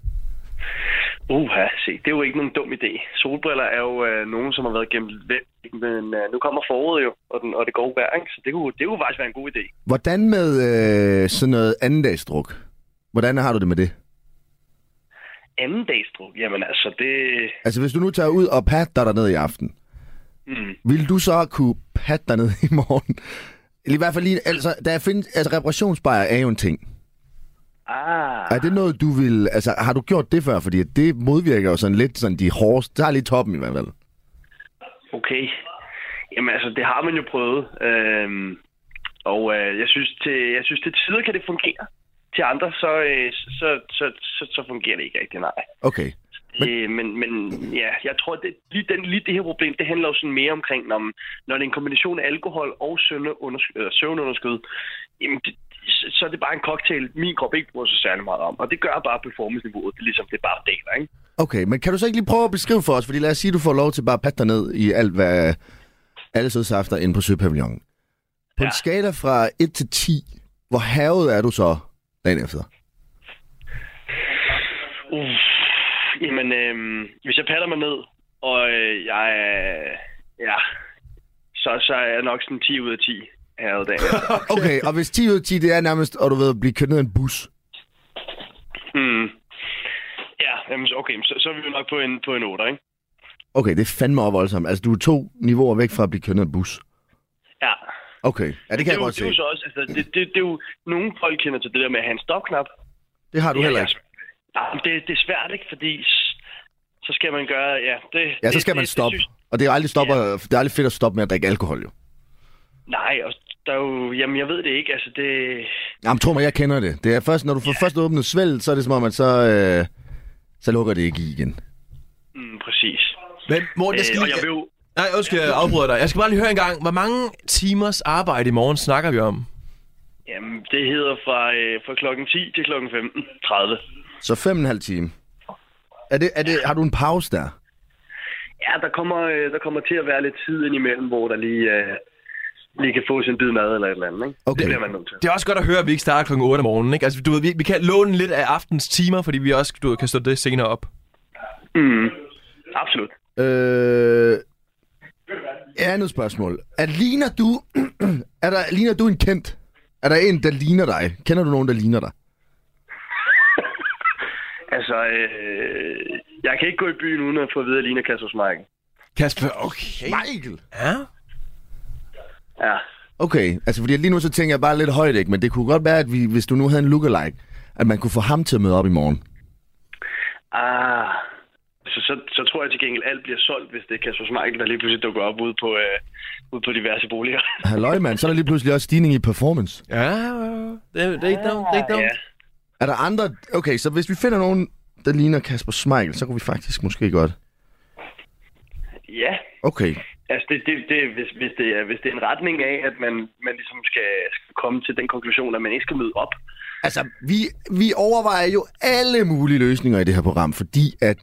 S5: Uha, se, det er jo ikke nogen dum idé. Solbriller er jo øh, nogen, som har været gemt væk, men øh, nu kommer foråret jo, og, den, og det gode vejr, ikke? så det kunne, det kunne faktisk være en god idé.
S3: Hvordan med øh, sådan noget andendagsdruk? Hvordan har du det med det?
S5: Anden dagsdruk, jamen altså, det...
S3: Altså, hvis du nu tager ud og patter dig ned i aften,
S5: Mm.
S3: vil du så kunne patte dig ned i morgen? Eller i hvert fald lige, altså, der findes, altså reparationsbejer er jo en ting.
S5: Ah,
S3: Er det noget, du vil... Altså, har du gjort det før? Fordi at det modvirker jo sådan lidt sådan de hårde... Der er lige toppen i hvert fald.
S5: okay. Jamen altså, det har man jo prøvet. Øhm, og øh, jeg, synes, til, jeg synes, til tider kan det fungere. Til andre, så, øh, så, så, så, så fungerer det ikke rigtig, nej.
S3: Okay.
S5: Men, øh, men, men ja, jeg tror, det, lige, den, lige det her problem, det handler jo sådan mere omkring, når, når det er en kombination af alkohol og søvnunderskud, øh, søvnunderskud jamen det, så, så er det bare en cocktail, min krop ikke bruger sig særlig meget om. Og det gør bare performance-niveauet, det er ligesom det bare daler, ikke?
S3: Okay, men kan du så ikke lige prøve at beskrive for os? Fordi lad os sige, at du får lov til bare at patte dig ned i alt, hvad alle sødsafter inde på Søpavillonen. På ja. en skala fra 1 til 10, hvor havet er du så dagen efter?
S5: Uff, jamen, øh, hvis jeg patter mig ned, og øh, jeg er... Ja, så, så er jeg nok sådan 10 ud af 10 her i dag.
S3: Okay. okay, og hvis 10 ud af 10, det er nærmest, og du ved at blive kørt ned af en bus.
S5: mm. Ja, jamen, så- okay, så, så er vi jo nok på en, på en 8, ikke?
S3: Okay, det er fandme også voldsomt. Altså, du er to niveauer væk fra at blive kørt ned af en bus.
S5: Ja,
S3: Okay, ja, det kan jeg
S5: det, er jo-
S3: godt
S5: det er
S3: se.
S5: jo så også, altså, det, det, det er jo, nogle folk kender til det der med at have en stopknap.
S3: Det har du heller
S5: Ja,
S3: ikke.
S5: Ja, Jamen, det, det er svært, ikke? Fordi s- så skal man gøre, ja, det...
S3: Ja, så
S5: det-
S3: skal man
S5: det- det
S3: stoppe.
S5: synes-
S3: Og det er jo aldrig, stopper, det er aldrig fedt at stoppe med at drikke alkohol, jo.
S5: Nej, og der er jo, jamen, jeg ved det ikke, altså det...
S3: Jamen, tror mig, jeg kender det. Det er først, når du får først åbnet svælget, så er det som om, at så, øh, så lukker det ikke i igen.
S5: Mm, præcis.
S4: Men Morten,
S5: Øh,
S4: jeg skal
S5: og
S4: lige...
S5: jeg vil jo...
S4: Nej, undskyld, jeg afbryder dig. Jeg skal bare lige høre en gang, hvor mange timers arbejde i morgen snakker vi om?
S5: Jamen, det hedder fra, øh, fra klokken 10 til klokken 15.30.
S3: Så fem og en halv time. Er det, er det, har du en pause der?
S5: Ja, der kommer, øh, der kommer til at være lidt tid indimellem, hvor der lige, øh, lige kan få sin bid mad eller et eller andet, ikke?
S3: Okay.
S5: Det bliver man nødt til.
S4: Det er også godt at høre, at vi ikke starter klokken 8 om morgenen, ikke? Altså, du ved, vi, vi kan låne lidt af aftens timer, fordi vi også du, ved, kan stå det senere op.
S5: Mm, absolut.
S3: Øh, andet spørgsmål. Er, ligner, du, er der, ligner du en kendt? Er der en, der ligner dig? Kender du nogen, der ligner dig?
S5: Altså, øh, jeg kan ikke gå i byen uden at få at vide, at jeg ligner Kasper Smeichel.
S4: Kasper, okay.
S3: Michael!
S4: Ja.
S5: Ja.
S3: Okay, altså fordi lige nu så tænker jeg bare lidt højt, ikke? Men det kunne godt være, at vi, hvis du nu havde en lookalike, at man kunne få ham til at møde op i morgen.
S5: Ah. Så, så, så tror jeg til gengæld, alt bliver solgt, hvis det er Kasper Smeichel, der lige pludselig dukker op ude på, øh, ude på diverse boliger.
S3: Halløj, mand. Så er der lige pludselig også stigning i performance.
S4: Ja, det, det er ikke dumt, det er ikke dumt.
S5: ja.
S3: Er der andre... Okay, så hvis vi finder nogen, der ligner Kasper Smeichel, så kunne vi faktisk måske godt...
S5: ja.
S3: Okay,
S5: Altså, det, det, det, hvis, hvis, det er, hvis det er en retning af, at man, man ligesom skal, skal komme til den konklusion, at man ikke skal møde op.
S3: Altså, vi, vi overvejer jo alle mulige løsninger i det her program, fordi at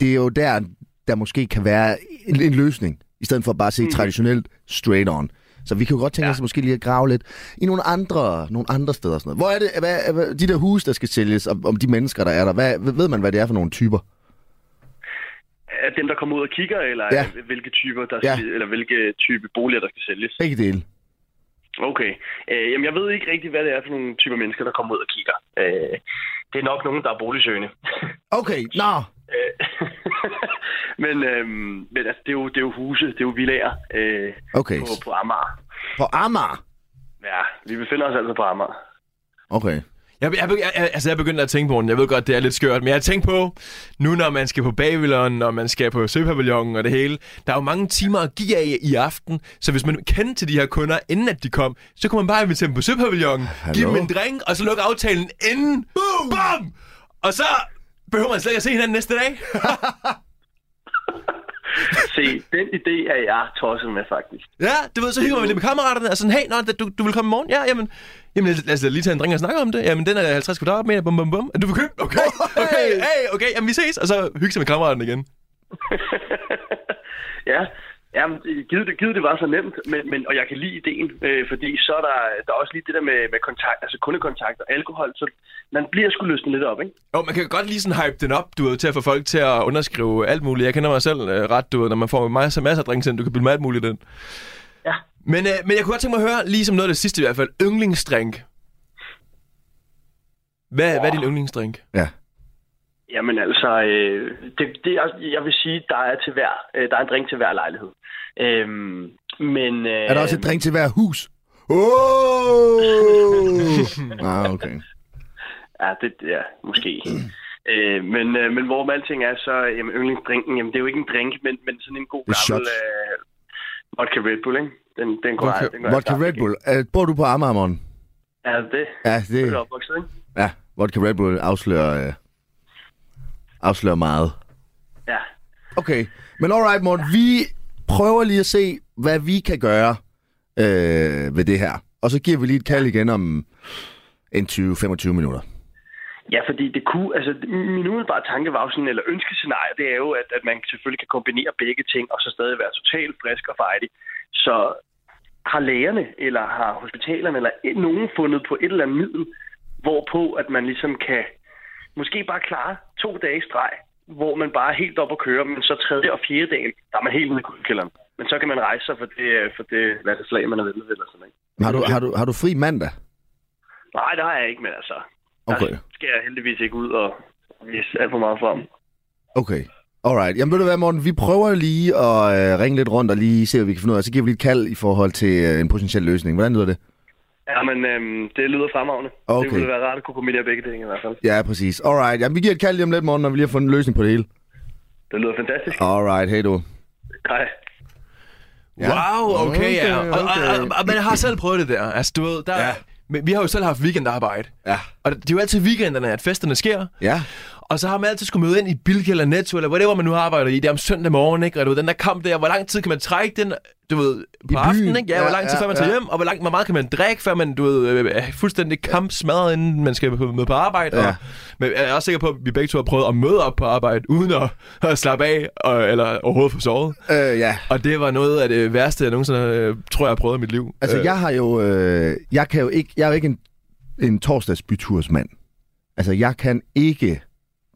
S3: det er jo der, der måske kan være en, en løsning, i stedet for bare at se
S5: Mhm.
S3: mm. traditionelt straight on. Så vi kan jo godt tænke ja. os måske lige at grave lidt i nogle andre, nogle andre steder. og Sådan noget. Hvor er det, hvad, hvad, de der huse, der skal sælges, om, om de mennesker, der er der, hvad, ved man, hvad det er for nogle typer?
S5: At dem, der kommer ud og kigger, eller
S3: Ja.
S5: ja. hvilke typer, der skal, ja. eller hvilke type boliger, der skal sælges.
S3: Begge dele.
S5: Okay. Øh, jamen, jeg ved ikke rigtig, hvad det er for nogle typer mennesker, der kommer ud og kigger. Øh, det er nok nogen, der er boligsøgende.
S3: Okay, nå.
S5: Øh, men øhm, men altså, det, er jo, det er jo huse, det er jo villager øh,
S3: Okay,
S5: på, på Amager.
S3: på Amager.
S5: Ja, vi befinder os altså på Amager.
S3: Okay.
S4: Jeg, jeg, jeg, jeg, altså, jeg begyndte at tænke på den. Jeg ved godt, det er lidt skørt, men jeg tænkte på, nu når man skal på Babylon, når man skal på Søpavillonen og det hele, der er jo mange timer at give af i aften, så hvis man kendte til de her kunder, inden at de kom, så kunne man bare invitere dem på Søpavillonen, give dem en drink, og så lukke aftalen inden. Boom! Bam! Og så behøver man slet ikke at se hinanden næste dag.
S5: Se, den idé er jeg tosset med, faktisk.
S4: ja, du ved, så hygger man lidt med kammeraterne, og sådan, hey, nå, du, du vil komme i morgen? Ja, jamen, jamen lad, os- lad os da lige tage en drink og snakke om det. Jamen, den er 50 kvadratmeter, bum, bum, bum. Er du vil købe? Okay, okay, hey, okay, jamen vi ses. Og så hygge sig med kammeraterne igen.
S5: ja, jamen, givet, det, givet det var så nemt, men, men, og jeg kan lide ideen, øh, fordi så er der, der er også lige det der med, med kontakt, altså kundekontakt og alkohol, så man bliver sgu løsnet lidt op, ikke?
S4: Jo, man kan godt lige sådan hype den op, du ved, til at få folk til at underskrive alt muligt. Jeg kender mig selv øh, ret, du ved, når man får masser, masser af drinks ind, du kan blive med alt muligt den.
S5: Ja.
S4: Men, øh, men jeg kunne godt tænke mig at høre, lige som noget af det sidste i hvert fald, yndlingsdrink. Hvad, hvad er din yndlingsdrink?
S3: Ja.
S5: Jamen altså, øh, det, det er, jeg vil sige, der er til hver, øh, der er en drink til hver lejlighed. Øhm, men, øh,
S3: Er der også et drink til hver hus? Åh! Oh! ah, okay.
S5: Ja, det ja, måske. øh, men, øh, men hvor alting er, så jamen, yndlingsdrinken, jamen, det er jo ikke en drink, men, men sådan en god
S3: Det er
S5: gammel
S3: shots.
S5: øh, vodka Red Bull, ikke? Den, den går
S4: Vodka-
S5: jeg- den går jeg
S3: Vodka
S5: klart
S3: Red
S5: ikke.
S3: Bull. Øh, bor du på Amager, morgen?
S5: Ja, det
S3: Ja,
S5: det er
S3: det...
S5: du opvokset, ikke?
S3: Ja, vodka Red Bull afslører... Øh, afslører meget.
S5: Ja.
S3: Okay, men alright, Morten, vi prøver lige at se, hvad vi kan gøre øh, ved det her. Og så giver vi lige et kald igen om en 20-25 minutter.
S5: Ja, fordi det kunne, altså min umiddelbare tanke var jo sådan, eller ønskescenarie, det er jo, at, at man selvfølgelig kan kombinere begge ting, og så stadig være totalt frisk og fejlig. Så har lægerne, eller har hospitalerne, eller e- nogen fundet på et eller andet middel, hvorpå at man ligesom kan måske bare klare to dage i streg, hvor man bare er helt op og kører, men så tredje og fjerde dagen, der er man helt ude i kuldekælderen. Men så kan man rejse sig for det, for det hvad det slag, man er ved med, eller sådan, ikke?
S3: Har du, har du, har du fri mandag?
S5: Nej, det har jeg ikke, men altså,
S3: Okay,
S5: Der skal jeg heldigvis ikke ud og vise alt for meget frem.
S3: okay. Alright, jamen ved du hvad, Morten, vi prøver lige at øh, ringe lidt rundt og lige se, hvad vi kan finde ud af. Så giver vi lige et kald i forhold til øh, en potentiel løsning. Hvordan lyder det?
S5: Ja, men øhm, det lyder fremragende.
S3: Okay.
S5: Det ville være rart at kunne kombinere begge ting i hvert fald.
S3: Ja, præcis. Alright, jamen vi giver et kald lige om lidt, Morten, når vi lige har fundet en løsning på det hele.
S5: Det lyder fantastisk.
S3: Alright, hey du.
S5: Hej.
S3: Ja.
S4: Wow, okay, ja.
S3: Okay,
S4: Og, og,
S3: okay.
S4: og, og man har selv prøvet det der. Altså, du ved, der,
S3: Ja.
S4: ja. men vi har jo selv haft weekendarbejde.
S3: Ja.
S4: Og det er jo altid weekenderne, at festerne sker.
S3: Ja,
S4: Og så har man altid skulle møde ind i Bilka eller Netto, eller whatever man nu arbejder i. Det er om søndag morgen, ikke? Og du ved, den der kamp der, hvor lang tid kan man trække den, du ved, på
S3: byen.
S4: aftenen, ikke? Ja,
S3: Ja,
S4: hvor lang tid
S3: ja,
S4: før man tager
S3: ja.
S4: hjem, og hvor, langt, hvor meget kan man drikke, før man, du ved, øh, er fuldstændig kampsmadret, inden man skal på- møde på arbejde.
S3: Ja.
S4: Og, men jeg er også sikker på, at vi begge to har prøvet at møde op på arbejde, uden at, at slappe af, og, eller overhovedet få sovet.
S3: øh, ja.
S4: Og det var noget af det værste, jeg nogensinde øh, tror, jeg har prøvet i mit liv.
S3: Altså, øh. jeg har jo... Øh, jeg kan jo ikke... Jeg er jo ikke en, en torsdagsbytursmand. Altså, jeg kan ikke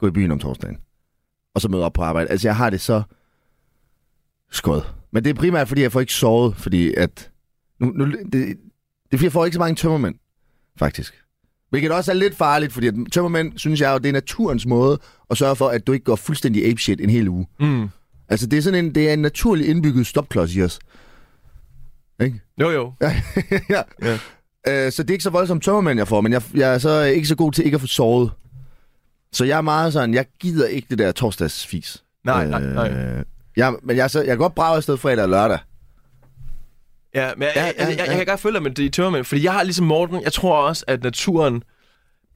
S3: gå i byen om torsdagen. Og så møde op på arbejde. Altså, jeg har det så skød. Men det er primært, fordi jeg får ikke sovet, fordi at... Nu, nu, det, det er, fordi jeg får ikke så mange tømmermænd, faktisk. Hvilket også er lidt farligt, fordi at tømmermænd, synes jeg jo, det er naturens måde at sørge for, at du ikke går fuldstændig apeshit en hel uge.
S4: Mm.
S3: Altså, det er sådan en, det er en naturlig indbygget stopklods i os. Ikke?
S4: Jo, jo.
S3: ja.
S4: Ja.
S3: Øh, så det er ikke så voldsomt tømmermænd, jeg får, men jeg, jeg er så ikke så god til ikke at få sovet. Så jeg er meget sådan, jeg gider ikke det der torsdagsfis.
S4: Nej, nej, nej.
S3: Øh, jeg, men jeg, er så, jeg kan godt brage afsted fredag og lørdag.
S4: Ja, men jeg,
S3: Ja, ja,
S4: ja, jeg, jeg, jeg,
S3: ja.
S4: jeg kan godt følge dig med det tømmermænd, fordi jeg har ligesom Morten, jeg tror også, at naturen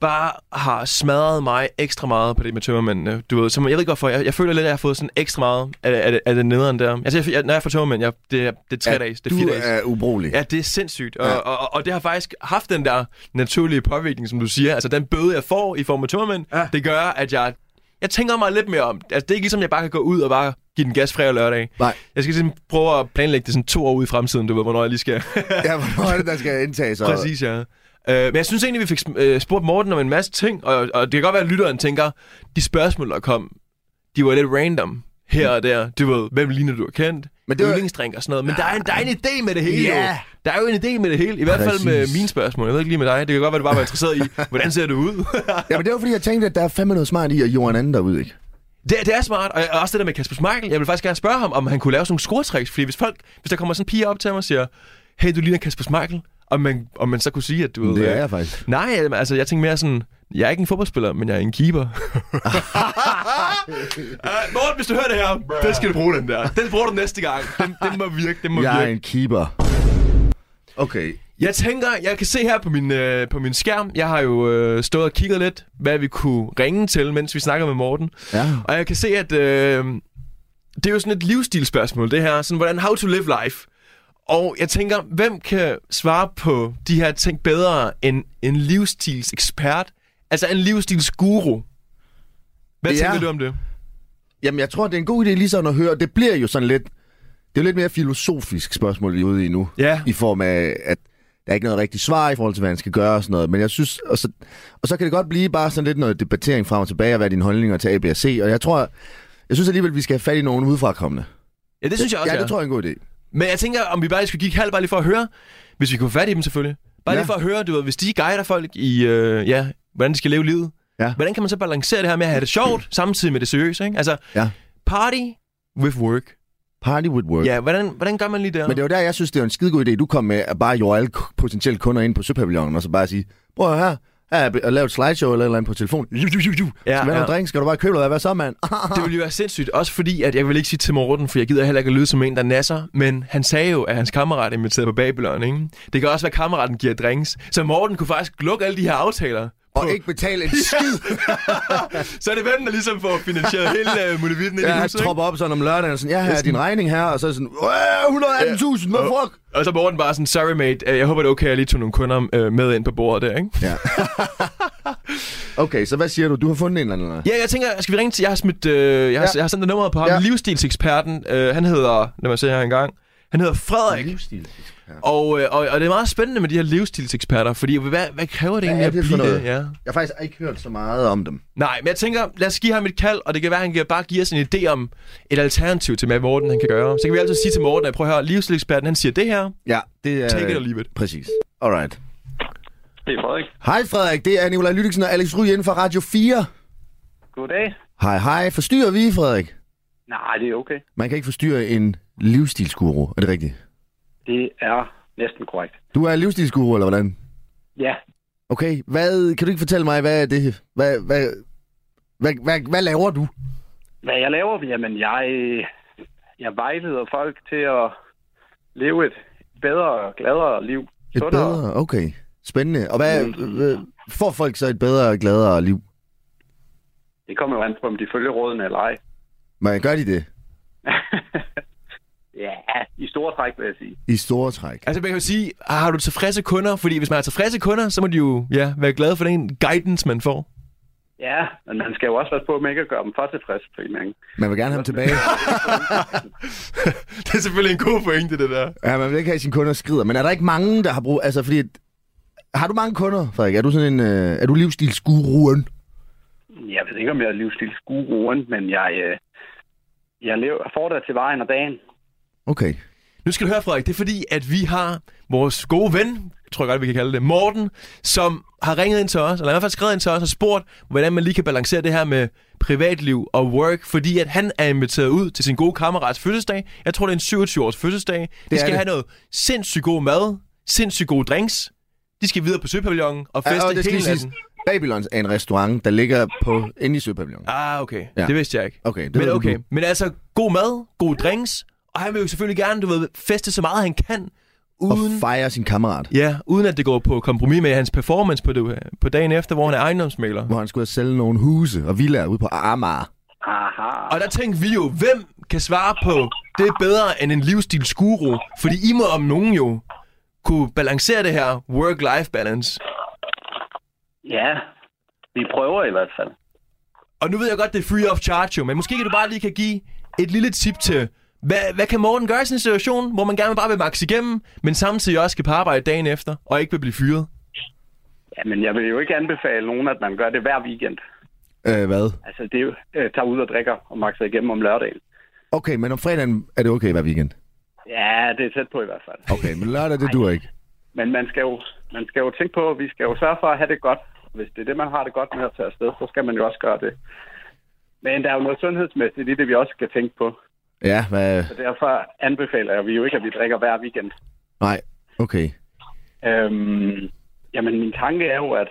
S4: bare har smadret mig ekstra meget på det med tømmermændene. Du ved, som jeg ved ikke hvorfor, jeg, jeg føler lidt, at jeg har fået sådan ekstra meget af, af, det- af det nederen der. Altså, jeg, jeg, når jeg får tømmermænd, jeg, det, er, det er tre ja, dage, det er fire
S3: du
S4: dage.
S3: er ubrugelig.
S4: Ja, det er sindssygt. Og,
S3: Ja.
S4: ja. og, og, og det har faktisk haft den der naturlige påvirkning, som du siger. Altså den bøde, jeg får i form af tømmermænd,
S3: Ja.
S4: ja. det gør, at jeg, jeg tænker mig lidt mere om. Altså det er ikke ligesom, jeg bare kan gå ud og bare give den gas fredag og lørdag.
S3: Nej.
S4: Jeg skal simpelthen prøve at planlægge det sådan to år ud i fremtiden, du ved, hvornår jeg lige skal.
S3: Ja, hvornår er det, der skal indtages? og-
S4: Præcis, ja. Øh, men jeg synes egentlig, vi fik sm- øh, spurgt Morten om en masse ting, og, og det kan godt være, at lytteren tænker, de spørgsmål, der kom, de var lidt random her og der. Du ved, hvem ligner du er kendt?
S3: Men
S4: Men
S3: det
S4: det
S3: var-
S4: Yndlingsdrink og sådan noget. Men der er en, der er en idé med det hele,
S3: Ja.
S4: jo. Der er jo en idé med det hele. I hvert fald med
S3: Præcis.
S4: mine spørgsmål. Jeg ved ikke lige med dig. Det kan godt være, du bare var interesseret i, hvordan ser du ud?
S3: Ja, men det var fordi, jeg tænkte, at der er fandme noget smart i at jorden anden derude, ikke?
S4: det, det er smart. Og og også det der med Kasper Schmeichel. Jeg vil faktisk gerne spørge ham, om han kunne lave sådan nogle scoretricks. Fordi hvis folk, hvis der kommer sådan en pige op til ham og siger, hey, du ligner Kasper Schmeichel, om man, om man så kunne sige, at du...
S3: Det
S4: øh,
S3: er jeg faktisk.
S4: Nej, altså jeg tænker mere sådan, jeg er ikke en fodboldspiller, men jeg er en keeper. uh, Morten, hvis du hører det her, den skal du bruge den der. Den bruger du næste gang. Den, den må virke, den må
S3: Jeg er
S4: virke.
S3: en keeper. Okay.
S4: Jeg tænker, jeg kan se her på min, øh, på min skærm, jeg har jo øh, stået og kigget lidt, hvad vi kunne ringe til, mens vi snakker med Morten.
S3: Ja.
S4: Og jeg kan se, at øh, det er jo sådan et livsstilsspørgsmål, det her. Sådan, hvordan, how to live life. Og jeg tænker, hvem kan svare på de her ting bedre end en livsstilsekspert? Altså en livsstilsguru. Hvad
S3: Ja.
S4: ja. tænker du om det?
S3: Jamen, jeg tror, det er en god idé lige sådan at høre. Det bliver jo sådan lidt... Det er jo lidt mere filosofisk spørgsmål, vi er ude i nu.
S4: Ja.
S3: I form af, at der er ikke noget rigtigt svar i forhold til, hvad han skal gøre og sådan noget. Men jeg synes... Og så, og så kan det godt blive bare sådan lidt noget debattering frem og tilbage, og hvad er dine holdninger til A, B og C. Og jeg tror... Jeg synes alligevel, vi skal have fat i nogen udefrakommende.
S4: Ja, det synes jeg også,
S3: ja, det tror jeg er en god idé.
S4: Men jeg tænker, om vi bare skulle kigge halvt, bare lige for at høre, hvis vi kunne få fat i dem selvfølgelig. Bare
S3: Ja.
S4: ja. lige for at høre, du ved, hvis de guider folk i, øh, ja, hvordan de skal leve livet.
S3: Ja.
S4: Hvordan kan man så balancere det her med at have det sjovt, samtidig med det seriøse, ikke? Altså,
S3: Ja.
S4: party with work.
S3: Party would work.
S4: Ja, hvordan, hvordan gør man lige der?
S3: Men det var der, jeg synes, det er en skidegod idé, du kom med at bare jorde alle k- potentielle kunder ind på Søpavillonen, og så bare sige, prøv at høre her, Ja, og lave et slideshow eller et eller andet på telefon. Ja,
S4: Ja,
S3: skal vi have
S4: ja.
S3: ja. drink? Skal du bare købe noget? Hvad så, mand?
S4: Det ville jo være sindssygt, også fordi, at jeg vil ikke sige til Morten, for jeg gider heller ikke at lyde som en, der nasser, men han sagde jo, at hans kammerat inviterede på Babylon, ikke? Det kan også være, at kammeraten giver drinks, så Morten kunne faktisk lukke alle de her aftaler.
S3: og ikke betale en skid.
S4: Så er det vennen, der ligesom får finansieret hele uh, muligheden
S3: ja,
S4: i
S3: jeg
S4: huset, ikke?
S3: tropper op sådan om lørdagen, og sådan, ja, her er din regning her, og så er sådan, "Øh, 118.000, hvad fuck?
S4: Og så er Morten bare sådan, sorry mate, øh, jeg håber det er okay, at jeg lige tog nogle kunder øh, med ind på bordet der, ikke?
S3: Ja. okay, så hvad siger du? Du har fundet en eller anden? eller hvad?
S4: Ja, jeg tænker, skal vi ringe til... Jeg har, smidt, øh, jeg har,
S3: Ja.
S4: jeg har sendt nummeret på ham.
S3: Ja.
S4: Ja. Livsstilseksperten. Øh, han hedder... Lad mig se her en gang. Han hedder Frederik.
S3: Mhm.
S4: Og, øh, og, og, det er meget spændende med de her livsstilseksperter, fordi hvad, hvad kræver det
S3: Hvad
S4: egentlig
S3: er det
S4: at
S3: for
S4: blive
S3: noget?
S4: det? Ja.
S3: Jeg har faktisk ikke hørt så meget om dem.
S4: Nej, men jeg tænker, lad os give ham et kald, og det kan være, at han kan bare give os en idé om et alternativ til, hvad Morten han kan gøre. Så kan vi altid sige til Morten, at prøv at høre, livsstilseksperten, han siger det her.
S3: Ja, det er...
S4: Take it or leave it.
S3: Præcis. Alright.
S6: Det er Frederik.
S3: Hej Frederik, det er Nikolaj Lydiksen og Alex Ry inden for Radio 4.
S6: Goddag.
S3: Hej, hej. Forstyrrer vi, Frederik?
S6: Nej, det er okay.
S3: Man kan ikke forstyrre en livsstilsguru, er det rigtigt?
S6: Det er næsten korrekt.
S3: Du er livsstilsguru, eller hvordan?
S6: Ja,
S3: Okay, hvad, kan du ikke fortælle mig, hvad er det? Hvad, hvad, hvad, hvad, hvad laver du?
S6: hvad jeg laver? Jamen, jeg, øh, jeg vejleder folk til at leve et bedre, gladere liv.
S3: Et
S6: Sundere.
S3: bedre, okay. Spændende. Og hvad, øh, får folk så et bedre, gladere liv?
S6: Det kommer jo an på, om de følger rådene eller ej.
S3: Men gør de det?
S6: Ja, i store træk, vil jeg sige.
S3: I store træk.
S4: Altså man kan jo sige, ah, har du tilfredse kunder? Fordi hvis man har tilfredse kunder, så må de jo ja, være glade for den guidance, man får.
S6: Ja, men man skal jo også passe på, at man ikke gør dem for tilfredse på en gang.
S3: Man vil gerne have dem tilbage.
S4: det er selvfølgelig en god pointe, det der.
S3: Ja, man vil ikke have sine kunder skrider. Men er der ikke mange, der har brug... Altså, fordi... Har du mange kunder, Frederik? Er du sådan en... Øh, er du livsstilsguruen?
S6: Jeg ved ikke, om jeg er livsstilsguruen, men jeg, øh, jeg, lever, jeg får det til vejen og dagen.
S3: Okay.
S4: Nu skal du høre, Frederik, det er fordi, at vi har vores gode ven, tror jeg godt, vi kan kalde det, Morten, som har ringet ind til os, eller i hvert fald skrevet ind til os og spurgt, hvordan man lige kan balancere det her med privatliv og work, fordi at han er inviteret ud til sin gode kammerats fødselsdag. Jeg tror, det er en 27-års fødselsdag. De
S3: er
S4: skal
S3: det.
S4: have noget sindssygt god mad, sindssygt gode drinks. De skal videre på Søpavillonen og feste
S3: Ja, og
S4: ja,
S3: det skal lige
S4: hele
S3: siges.
S4: natten.
S3: Babylons er en restaurant, der ligger på inde i Søpavillonen.
S4: Ah, okay.
S3: Ja.
S4: Ja. Det vidste jeg ikke.
S3: Okay, det ved
S4: men,
S3: du
S4: okay.
S3: nu.
S4: men altså, god mad, gode drinks, og han vil jo selvfølgelig gerne, du ved, feste så meget, han kan,
S3: Og
S4: uden...
S3: fejrer sin kammerat,
S4: Ja, uden at det går på kompromis med hans performance på, det, på dagen efter, hvor han er ejendomsmaler.
S3: hvor han skulle have sælge nogle huse og villaer ude på Amager.
S6: Aha.
S4: Og der tænkte vi jo, hvem kan svare på, det er bedre end en livsstilsguru, fordi I må om nogen jo kunne balancere det her work-life balance.
S6: Ja, vi prøver i hvert fald.
S4: Og nu ved jeg godt, det er free of charge jo, men måske kan du bare lige kan give et lille tip til, hvad, hvad kan Morten gøre i sådan en situation, hvor man gerne bare vil max igennem, men samtidig også skal på arbejde dagen efter, og ikke vil blive fyret?
S6: Ja, men jeg vil jo ikke anbefale nogen, at man gør det hver weekend.
S3: Øh, hvad?
S6: Altså, det er jo, øh, tager ud og drikker og makser igennem om lørdagen.
S3: Okay, men om fredagen er det okay hver weekend?
S6: Ja, det er tæt på i hvert fald.
S3: Okay, men lørdag, det dur ikke.
S6: Men man skal, jo, man skal jo tænke på, at vi skal jo sørge for at have det godt. Hvis det er det, man har det godt med at tage afsted, så skal man jo også gøre det. Men der er jo noget sundhedsmæssigt i det, vi også skal tænke på.
S3: Ja, hvad?
S6: Så derfor anbefaler jeg vi jo ikke, at vi drikker hver weekend.
S3: Nej, okay.
S6: Øhm, jamen, min tanke er jo, at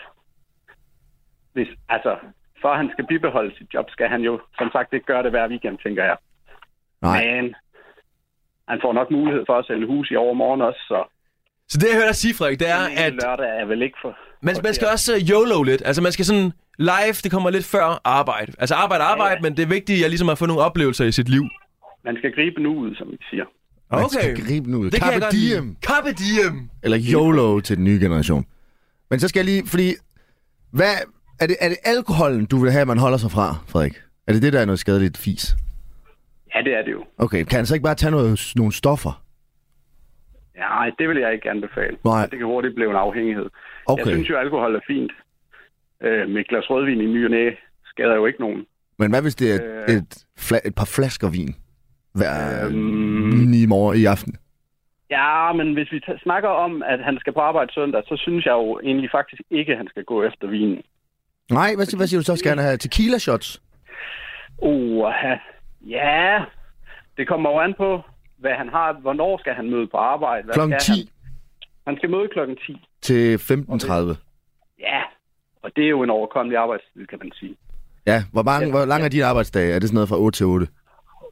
S6: hvis, altså, for at han skal bibeholde sit job, skal han jo som sagt ikke gøre det hver weekend, tænker jeg.
S3: Nej.
S6: Men han får nok mulighed for at sælge hus i overmorgen også, så
S4: Så det, jeg hører dig sige, Frederik, det er,
S6: den
S4: at
S6: ene lørdag er vel ikke for...
S4: Man, man skal også øh, YOLO lidt. Altså, man skal sådan... Live, det kommer lidt før arbejde. Altså, arbejde, arbejde, men det er vigtigt, at jeg ligesom har fået nogle oplevelser i sit liv.
S6: Man skal gribe nu ud, som vi siger.
S3: Man skal gribe nu. Carpe
S4: lide.
S3: diem.
S4: Carpe diem.
S3: Eller YOLO til den nye generation. Men så skal jeg lige, fordi... Hvad, er, det, er det alkoholen, du vil have, man holder sig fra, Frederik? Er det det, der er noget skadeligt fis?
S6: Ja, det er det jo.
S3: Okay, kan han så ikke bare tage noget, nogle stoffer?
S6: Nej, det vil jeg ikke anbefale.
S3: Nej.
S6: Det kan hurtigt blive en afhængighed.
S3: Okay.
S6: Jeg synes jo, alkohol er fint. Øh, med et glas rødvin i ny og næ skader jo ikke nogen.
S3: Men hvad hvis det er et,
S6: Øh.
S3: et, fla, et par flasker vin hver
S6: Øhm.
S3: øhm. i morgen i aften?
S6: Ja, men hvis vi t- snakker om, at han skal på arbejde søndag, så synes jeg jo egentlig faktisk ikke, at han skal gå efter vinen.
S3: Nej, hvad, siger- hvad siger du så? Skal han have tequila shots?
S6: Uh, ja, det kommer jo an på, hvad han har. Hvornår skal han møde på arbejde? Hvad
S3: Klokken
S6: skal
S3: 10
S6: Han? han skal møde klokken 10.
S3: til 15.30.
S6: Ja, det er jo en overkommelig arbejdstid, kan man sige.
S3: Ja, hvor, mange, ja. hvor lang er dine arbejdsdage? Er det sådan noget fra 8 til 8?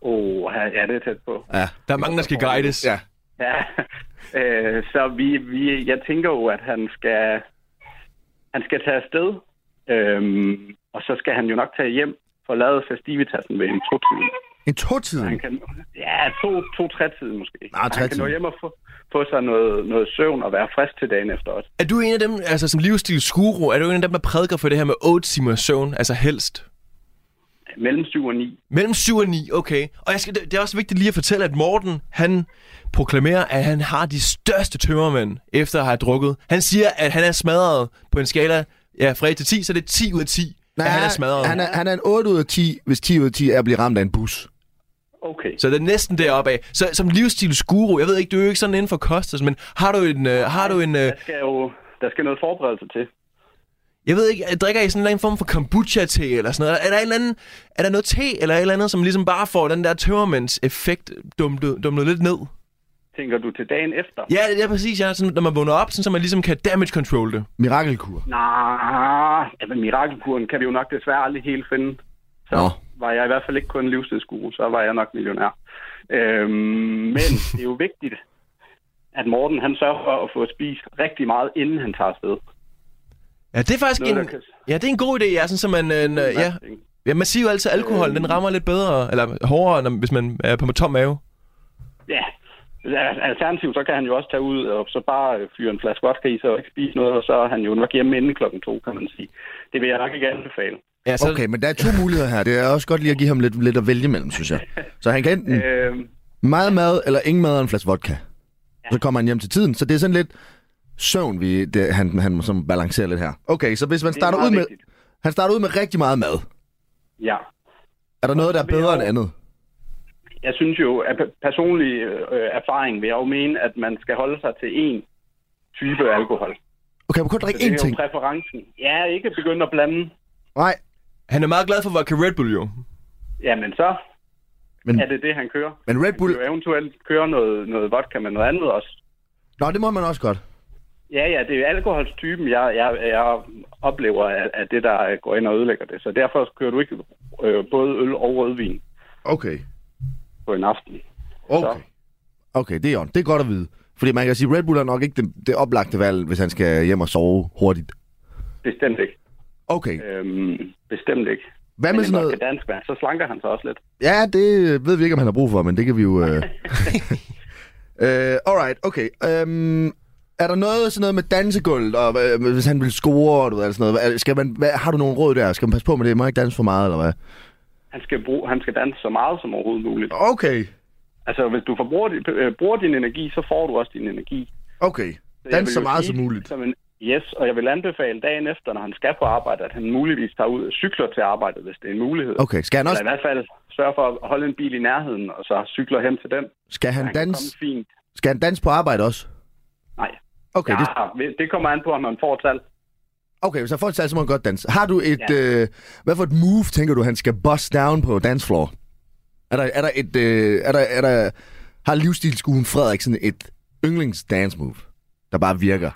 S6: Og ja, det er tæt på.
S3: Ja.
S4: Der er mange, der skal guides.
S3: Ja.
S6: Ja. Øh, så vi, vi, jeg tænker jo, at han skal, han skal tage afsted, øhm, og så skal han jo nok tage hjem for lavet festivitassen ved en to tiden.
S3: En to-tid?
S6: Han kan, ja, to, to tre tiden måske.
S3: Ah,
S6: han kan
S3: tretiden.
S6: nå hjem og få, få sig noget, noget søvn og være frisk til dagen efter også.
S4: Er du en af dem, altså som livsstilsguru, er du en af dem, der prædiker for det her med 8 timers søvn, altså helst?
S6: Mellem 7 og 9.
S4: Mellem 7 og 9, okay. Og jeg skal, det det er også vigtigt lige at fortælle, at Morten, han proklamerer, at han har de største tømmermænd, efter at have drukket. Han siger, at han er smadret på en skala ja, fra 1 til 10, så det er 10 ud af 10, Nej, at han er smadret.
S3: Han er, han er en 8 ud af 10, hvis 10 ud af 10 er at blive ramt af en bus.
S6: Okay.
S4: Så det er næsten deroppe af. Så som livsstilsguru, jeg ved ikke, du er jo ikke sådan inden for kost, og sådan, men har du en, øh, har du en, øh,
S6: Der skal jo der skal noget forberedelse til.
S4: jeg ved ikke, drikker I sådan en eller anden form for kombucha-te eller sådan noget? Er der, en eller anden, er der noget te eller et eller andet, som ligesom bare får den der tømmermænds-effekt dumlet, dumlet lidt ned?
S6: Tænker du til dagen efter?
S4: Ja, det er præcis, ja. Sådan, når man vågner op, sådan, så man ligesom kan damage control det.
S3: Mirakelkur.
S6: Nej, altså mirakelkuren kan vi jo nok desværre aldrig helt finde. Så
S3: Nå.
S6: Nå. var jeg i hvert fald ikke kun livstidsguru, så var jeg nok millionær. Øhm, men det er jo vigtigt, at Morten han sørger for at få spist rigtig meget, inden han tager afsted.
S4: Ja, det er faktisk
S6: Noget,
S4: en,
S6: der kan-
S4: ja, det er en god idé, ja. Sådan, så man, øh, øh, ja. ja, man siger jo altid, at alkohol,
S6: Øh.
S4: den rammer lidt bedre, eller hårdere, når, hvis man er på tom mave.
S6: Ja, Al- alternativt så kan han jo også tage ud og så bare øh, fyre en flaske vodka i sig og ikke spise noget, og så er han jo nok hjemme inden klokken to, kan man sige. Det vil jeg nok ikke anbefale.
S4: Ja, så,
S3: Okay, men der er to muligheder her. Det er også godt lige at give ham lidt, lidt at vælge mellem, synes jeg. Så han kan enten
S6: Øhm,
S3: meget mad, eller ingen mad og en flaske vodka. Så kommer han hjem til tiden, så det er sådan lidt søvn, vi, det, han, han som balancerer lidt her. Okay, så hvis man starter ud
S6: meget
S3: med,
S6: vigtigt.
S3: han starter ud med rigtig meget mad,
S6: ja.
S3: er der noget, der er
S6: vil jeg
S3: bedre end
S6: jo-
S3: andet?
S6: Jeg synes jo, at pe- personlig øh, erfaring vil jeg jo mene, at man skal holde sig til én type alkohol.
S3: Okay, man kan kun drikke
S6: Det
S3: én
S6: er jo
S3: ting.
S6: præferencen. Ja, ikke begynde at blande.
S3: Nej,
S4: han er meget glad for vodka Red Bull, jo.
S6: Jamen så
S3: men,
S6: er det det, han kører.
S3: men Red Bull...
S6: Du eventuelt kører noget, noget vodka med noget andet også.
S3: Nå, det må man også godt.
S6: Ja, ja, det er alkoholstypen, jeg, jeg, jeg oplever, at, at det, der går ind og ødelægger det. Så derfor kører du ikke øh, både øl og rødvin
S3: Okay,
S6: på en aften.
S3: okay. Okay, det er on. Det er godt at vide. Fordi man kan sige, at Red Bull er nok ikke det, det oplagte valg, hvis han skal hjem og sove hurtigt.
S6: Bestemt ikke.
S3: Okay,
S6: Øhm, bestemt ikke.
S3: hvad med
S6: Men
S3: sådan
S6: en
S3: noget...
S6: vodka dansk, vand, så slanker han sig også lidt.
S3: Ja, det ved vi ikke, om han har brug for, men det kan vi jo... Øh... øh, alright, okay. Øhm, er der noget sådan noget med dansegulvet, og øh, hvis han vil score, og du ved, eller sådan noget, hvad- skal man, hvad, har du nogle råd der? Skal man passe på med det? Må jeg ikke danse for meget, eller hvad?
S6: Han skal, bruge, han skal danse så meget som overhovedet muligt.
S3: Okay,
S6: Altså, hvis du forbruger, din- øh, bruger din energi, så får du også din energi.
S3: okay.
S6: Så jeg vil
S3: Dans
S6: jo
S3: så meget
S6: sige,
S3: som muligt.
S6: Som en, yes, og jeg vil anbefale dagen efter, når han skal på arbejde, at han muligvis tager ud og cykler til arbejdet, hvis det er en mulighed.
S3: Okay, skal han
S6: Eller i
S3: også...
S6: hvert fald sørge for at holde en bil i nærheden, og så cykler hen til den.
S3: Skal han
S6: Han kan komme
S3: danse,
S6: fint.
S3: skal han danse på arbejde også?
S6: Nej.
S3: Okay, det,
S6: Ja, det... det kommer an på, om man får tal.
S3: okay hvis han får et salg, så må han godt danse. Har du et...
S6: Ja.
S3: Øh, hvad for et move, tænker du, han skal bust down på dancefloor? Er der, er der et... Øh, er der, er der, har livsstilskuen Frederik sådan et yndlingsdance move, der bare virker?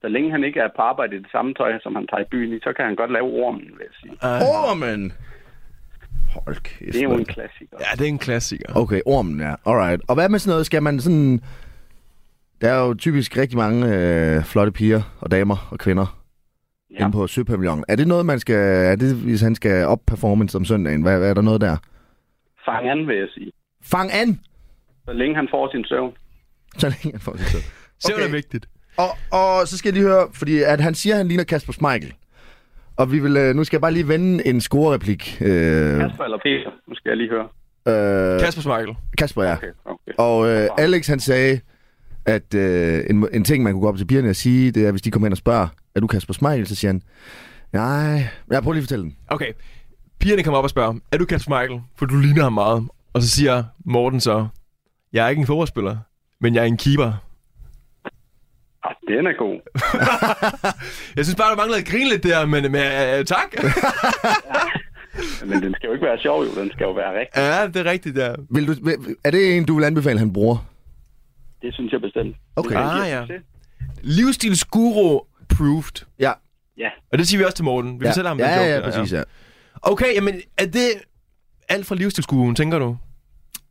S6: Så længe han ikke er på arbejde i det samme tøj, som han tager i byen i, så kan han godt lave ormen, vil jeg sige.
S3: Ormen! Hold kæft.
S6: Det er jo en
S3: mand.
S6: klassiker.
S4: Ja, det er en klassiker.
S3: Okay, ormen, ja. Alright. Og hvad med sådan noget? Skal man sådan... Der er jo typisk rigtig mange øh, flotte piger og damer og kvinder ja.
S6: Ja.
S3: inde på Søpavillonen. Er det noget, man skal... Er det, hvis han skal op performance om søndagen? Hvad, hvad er der noget der?
S6: Fang an, vil jeg sige.
S3: Fang an!
S6: Så længe han får sin søvn.
S3: Så længe han får det til.
S4: Så okay. er vigtigt.
S3: Og, og så skal jeg lige høre, fordi at han siger, at han ligner Kasper Schmeichel. Og vi vil, øh, nu skal jeg bare lige vende en scorereplik. Øh,
S6: Kasper eller Peter, nu skal jeg lige høre.
S3: øh,
S4: Kasper Smeichel.
S3: Kasper, ja.
S6: Okay, okay.
S3: Og øh, Alex han sagde, at øh, en, en ting, man kunne gå op til pigerne og sige, det er, hvis de kommer hen og spørger, er du Kasper Smeichel? Så siger han, nej, jeg prøver lige at fortælle den.
S4: Okay. Pigerne kommer op og spørger, er du Kasper Michael? For du ligner ham meget. Og så siger Morten så, jeg er ikke en fodboldspiller, men jeg er en keeper.
S6: Ah, den er god.
S4: Jeg synes bare, du manglede at grine lidt der, men, men øh, tak.
S6: Men den skal jo ikke være sjov, jo. Den skal jo være rigtig.
S4: ja, det er rigtigt, ja.
S3: Vil du, vil, er det en, du vil anbefale, han bruger?
S6: Det synes jeg bestemt.
S3: Okay.
S6: Det er en, der
S4: Ah,
S6: giver
S4: ja.
S6: succes.
S4: Livsstilsguru proofed.
S3: Ja.
S6: Ja.
S4: Og det siger vi også til Morten. Vi
S3: ja.
S4: fortæller ham,
S3: ja,
S4: den joke
S3: ja, ja,
S4: der,
S3: præcis, ja.
S4: Okay, jamen, er det alt fra livsstilskugen, tænker du?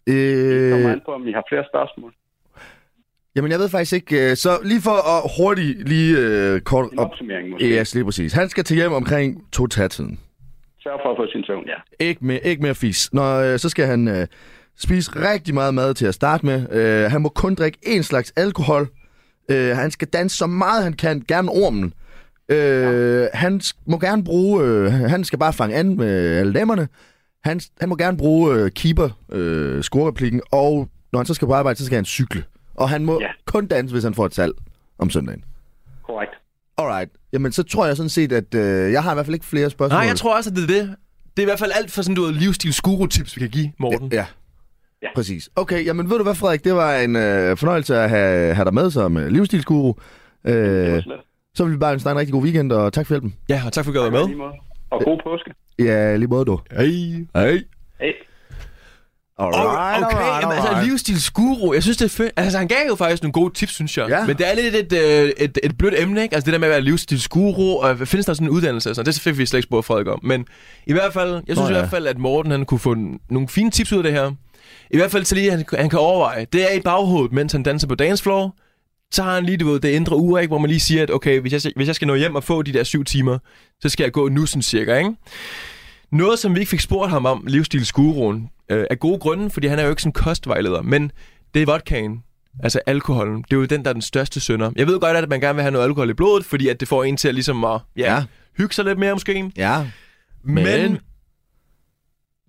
S6: Det kommer
S3: Øh,
S6: an på, om I har flere spørgsmål.
S3: jamen, jeg ved faktisk ikke. øh, Så lige for at hurtigt lige øh, kort
S6: En
S3: op.
S6: opsummering måske.
S3: Ja, yes, lige præcis. Han skal til hjem omkring to tiden.
S6: Sørg for at få sin søvn, ja.
S3: Ikke mere, ikke mere fis. Nå, øh, så skal han øh, spise rigtig meget mad til at starte med. Øh, han må kun drikke én slags alkohol. Øh, han skal danse så meget han kan, gerne ormen. Øh, han sk- må gerne bruge, øh, han skal bare fange an med alle damerne. Han, han må gerne bruge øh, keeper, øh, scoreplikken, og når han så skal på arbejde, så skal han cykle. Og han må
S6: Ja.
S3: ja. kun danse, hvis han får et salg om søndagen.
S6: Korrekt.
S3: Alright. Jamen, så tror jeg sådan set, at øh, jeg har i hvert fald ikke flere spørgsmål.
S4: Nej, jeg tror også, at det er det. Det er i hvert fald alt for sådan, du ved, livsstilsguru-tips, vi kan give, Morten.
S3: Ja.
S6: Ja.
S3: Præcis. Okay, jamen ved du hvad, Frederik? Det var en øh, fornøjelse at have, have dig med som øh, livsstilsguru. Øh,
S6: Det var
S3: så vil vi bare ønske dig en rigtig god weekend, og tak for hjælpen.
S4: Ja, og tak for at du har været
S6: Lige
S4: med.
S6: måde. Og god påske.
S3: Ja, lige måde du.
S4: Hej.
S3: Hej.
S6: Hey.
S3: Alright,
S4: Og, okay,
S3: alright,
S4: jamen, altså
S3: alright.
S4: livsstilsguru, jeg synes det er fedt. Altså han gav jo faktisk nogle gode tips, synes jeg.
S3: Ja.
S4: Men det er lidt et, øh, et, et blødt emne, ikke? Altså det der med at være livsstilsguru, og hvad findes der sådan en uddannelse og sådan Det fik vi slet ikke spurgt Frederik om. Men i hvert fald, jeg synes
S3: Nå,
S4: i
S3: ja.
S4: hvert fald, at Morten han kunne få n- nogle fine tips ud af det her. I hvert fald så lige, han, han kan overveje. Det er i baghovedet, mens han danser på dancefloor. Så har han lige, du ved, det indre ur, ikke? hvor man lige siger, at okay, hvis jeg, hvis jeg skal nå hjem og få de der syv timer, så skal jeg gå nu sådan cirka, ikke? Noget, som vi ikke fik spurgt ham om, livsstilsguruen, øh, af gode grunde, fordi han er jo ikke sådan kostvejleder, men det er vodkaen, altså alkoholen. Det er jo den, der er den største sønder. Jeg ved godt, at man gerne vil have noget alkohol i blodet, fordi at det får en til at ligesom at, ja,
S3: Ja.
S4: ja. hygge sig lidt mere måske.
S3: Ja,
S4: Men,
S3: Men-
S4: men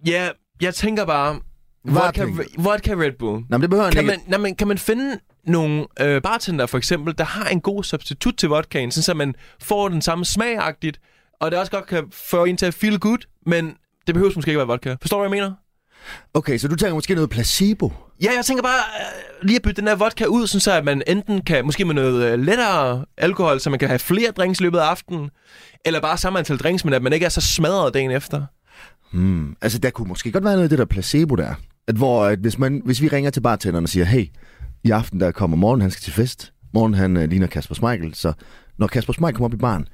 S4: ja, jeg tænker bare, vodka,
S3: Varpenge.
S4: vodka Red Bull.
S3: Nå, men det behøver han
S4: Kan
S3: ikke.
S4: man, nej, men kan man finde nogle øh, bartender, for eksempel, der har en god substitut til vodkaen, sådan så man får den samme smagagtigt, og det også godt kan få en til at feel good, men det behøver måske ikke være vodka. Forstår du, hvad jeg mener?
S3: Okay, så du tænker måske noget placebo?
S4: Ja, jeg tænker bare øh, lige at bytte den her vodka ud, sådan så at man enten kan, måske med noget øh, lettere alkohol, så man kan have flere drinks i løbet af aftenen, eller bare samme antal drinks, men at man ikke er så smadret dagen efter.
S3: Hmm. Altså, der kunne måske godt være noget af det der placebo der. At hvor, at hvis, man, hvis vi ringer til bartenderen og siger, hey, i aften der kommer Morten, han skal til fest. Morten, han øh, ligner Kasper Schmeichel, så når Kasper Schmeichel kommer op i baren,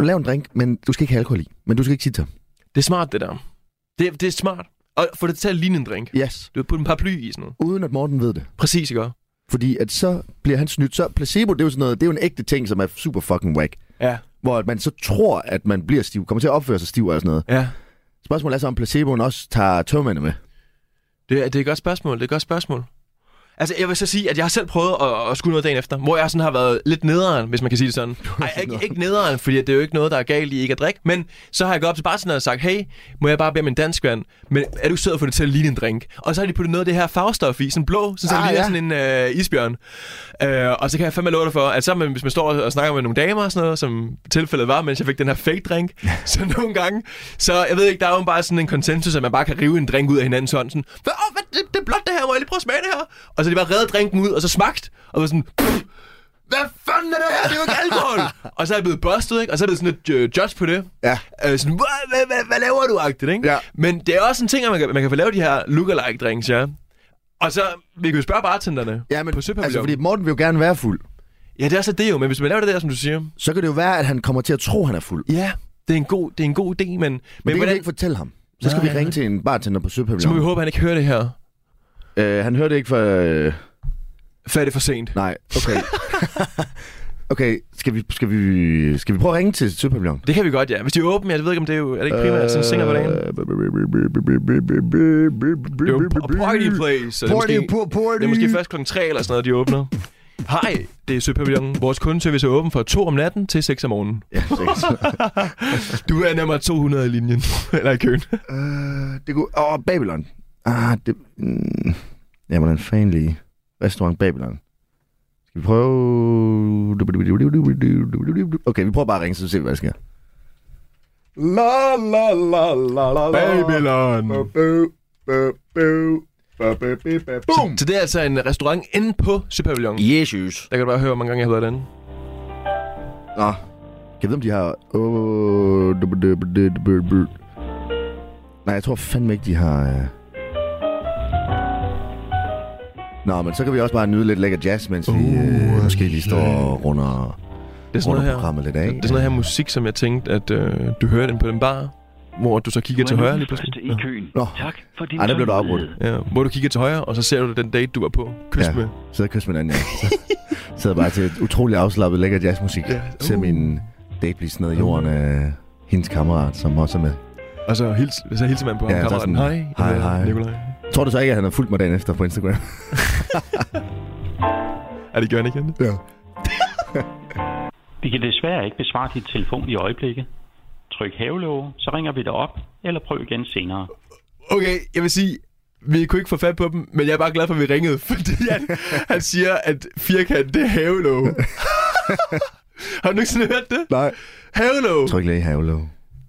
S3: lav en drink, men du skal ikke have alkohol i. Men du skal ikke sige til ham.
S4: Det er smart, det der. Det, det er smart. Og få det til at ligne en drink.
S3: Yes.
S4: Du har puttet en paraply i sådan noget.
S3: Uden at Morten ved det.
S4: Præcis, ikke også?
S3: Fordi at så bliver han snydt. Så placebo, det er jo sådan noget, det er jo en ægte ting, som er super fucking whack.
S4: Ja.
S3: Hvor at man så tror, at man bliver stiv, kommer til at opføre sig stiv og sådan noget.
S4: Ja.
S3: Spørgsmålet er så, om placeboen også tager tømmerne med.
S4: Det er, det er et godt spørgsmål, det er et godt spørgsmål. Altså, jeg vil så sige, at jeg har selv prøvet at, at skulle noget dagen efter, hvor jeg sådan har været lidt nederen, hvis man kan sige det sådan. Ej, ikke, ikke nederen, fordi det er jo ikke noget, der er galt i ikke at drikke, men så har jeg gået op til bartenderen og sagt, hey, må jeg bare bede om en dansk vand, men er du sød at få det til at ligne en drink? Og så har de puttet noget af det her farvestof i, sådan blå, sådan, så det
S3: Ah,
S4: ligner
S3: ja.
S4: sådan en øh, isbjørn. Øh, og så kan jeg fandme love dig for, at så man, hvis man står og snakker med nogle damer og sådan noget, som tilfældet var, mens jeg fik den her fake drink, så nogle gange, så jeg ved ikke, der er jo bare sådan en konsensus, at man bare kan rive en drink ud af hinandens hånd. Sådan, hvad, åh, hvad det, det, er blot det her, må jeg lige prøve at smage det her? Og så er de bare reddet drinken ud, og så smagt, og var sådan, "Pff, hvad fanden er det her? Det er jo ikke alkohol! og så er jeg blevet busted, ikke? Og så er det sådan et øh, judge på det.
S3: Ja.
S4: Øh, sådan, hvad, hvad, hvad, hvad laver du, agtigt, ikke?
S3: Ja.
S4: Men det er også en ting, at man kan, man kan få lavet de her lookalike drinks, ja. Og så, vi kan jo spørge bartenderne på
S3: altså,
S4: Søpavillonen.
S3: fordi Morten vil jo gerne være fuld.
S4: Ja, det er så det jo, men hvis man laver det der, som du siger.
S3: Så kan det jo være, at han kommer til at tro, han er fuld. Men,
S4: Ja, det er en god, det er en god idé, men, men,
S3: men det
S4: hvordan,
S3: kan vi ikke fortælle ham. Så skal
S4: Nej.
S3: vi ringe til en bartender på
S4: så må vi
S3: Søpavillonen.
S4: håbe, at han ikke hører det her.
S3: Øh, han hørte ikke for... Øh,
S4: Før det er for sent.
S3: nej, okay. okay, skal vi, skal, vi, skal vi prøve at ringe til Søpavillonen?
S4: Det kan vi godt, ja. Hvis de er åbne, jeg ved ikke, om det er jo... Er det ikke primært sådan senere på dagen?
S3: Øh,
S4: Det er jo a party place. så det er
S3: Party,
S4: måske-
S3: poor party.
S4: Det er måske først kl. 3 eller sådan noget, de åbner. Hej, det er Søpavillonen. Vores kundeservice er åben fra 2 om natten til 6 om morgenen.
S3: Ja, sikkert.
S4: Du er nærmere 200 i linjen. eller i køen.
S3: Øh, det kunne... Åh, oh, Babylon. Ah, det... Mm, ja, hvordan fanden lige? Restaurant Babylon. Skal vi prøve... Okay, vi prøver bare at ringe, så ser vi, hvad der sker. La la la la la
S4: Babylon.
S3: Boom!
S4: Så det er altså en restaurant inde på Søpavillonen.
S3: Jesus.
S4: Der kan du bare høre, hvor mange gange jeg har været derinde.
S3: Nå. Kan jeg vide, om de har... Åh, Nej, jeg tror fandme ikke, de har... øh.
S4: Uh,
S3: Nå, men så kan vi også bare nyde lidt lækker jazz, mens vi øh, måske lige står og runder...
S4: Det Det er sådan noget her.
S3: programmet lidt af.
S4: Det er sådan noget her musik, som jeg tænkte, at øh, du hørte ind på den bar, hvor du så kigger til højre lige pludselig.
S7: i køen.
S3: Nå.
S7: Tak for din
S3: Ej, der blev du afbrudt.
S4: Ja,
S7: tålmodighed.
S4: hvor du kigger til højre, og så ser du den date, du var på. Kys ja. med.
S3: Så jeg kysser med den, ja. Så sidder bare til et utroligt afslappet, lækker jazzmusik.
S4: Ja.
S3: Ja. Uh. Ser min date blive sned i jorden af hendes kammerat, som også er med.
S4: Og så, hils, så hilser man på
S3: Ja,
S4: ham,
S3: så
S4: kammeraten.
S3: sådan,
S4: Hej, jeg
S3: hej,
S4: hedder
S3: hej."
S4: Nikolaj.
S3: Tror du så ikke, at han har fulgt mig dagen efter på Instagram?
S4: Er det gør han igen?
S3: ja.
S7: Vi kan desværre ikke besvare dit telefon i øjeblikket. Tryk havelåge, så ringer vi dig op, eller prøv igen senere.
S4: Okay, jeg vil sige, vi kunne ikke få fat på dem, men jeg er bare glad for, at vi ringede, fordi han, han siger, at firkant, det er havelåge. Har du nogensinde hørt det?
S3: Nej.
S4: Havelåge!
S3: Tryk lige havlo.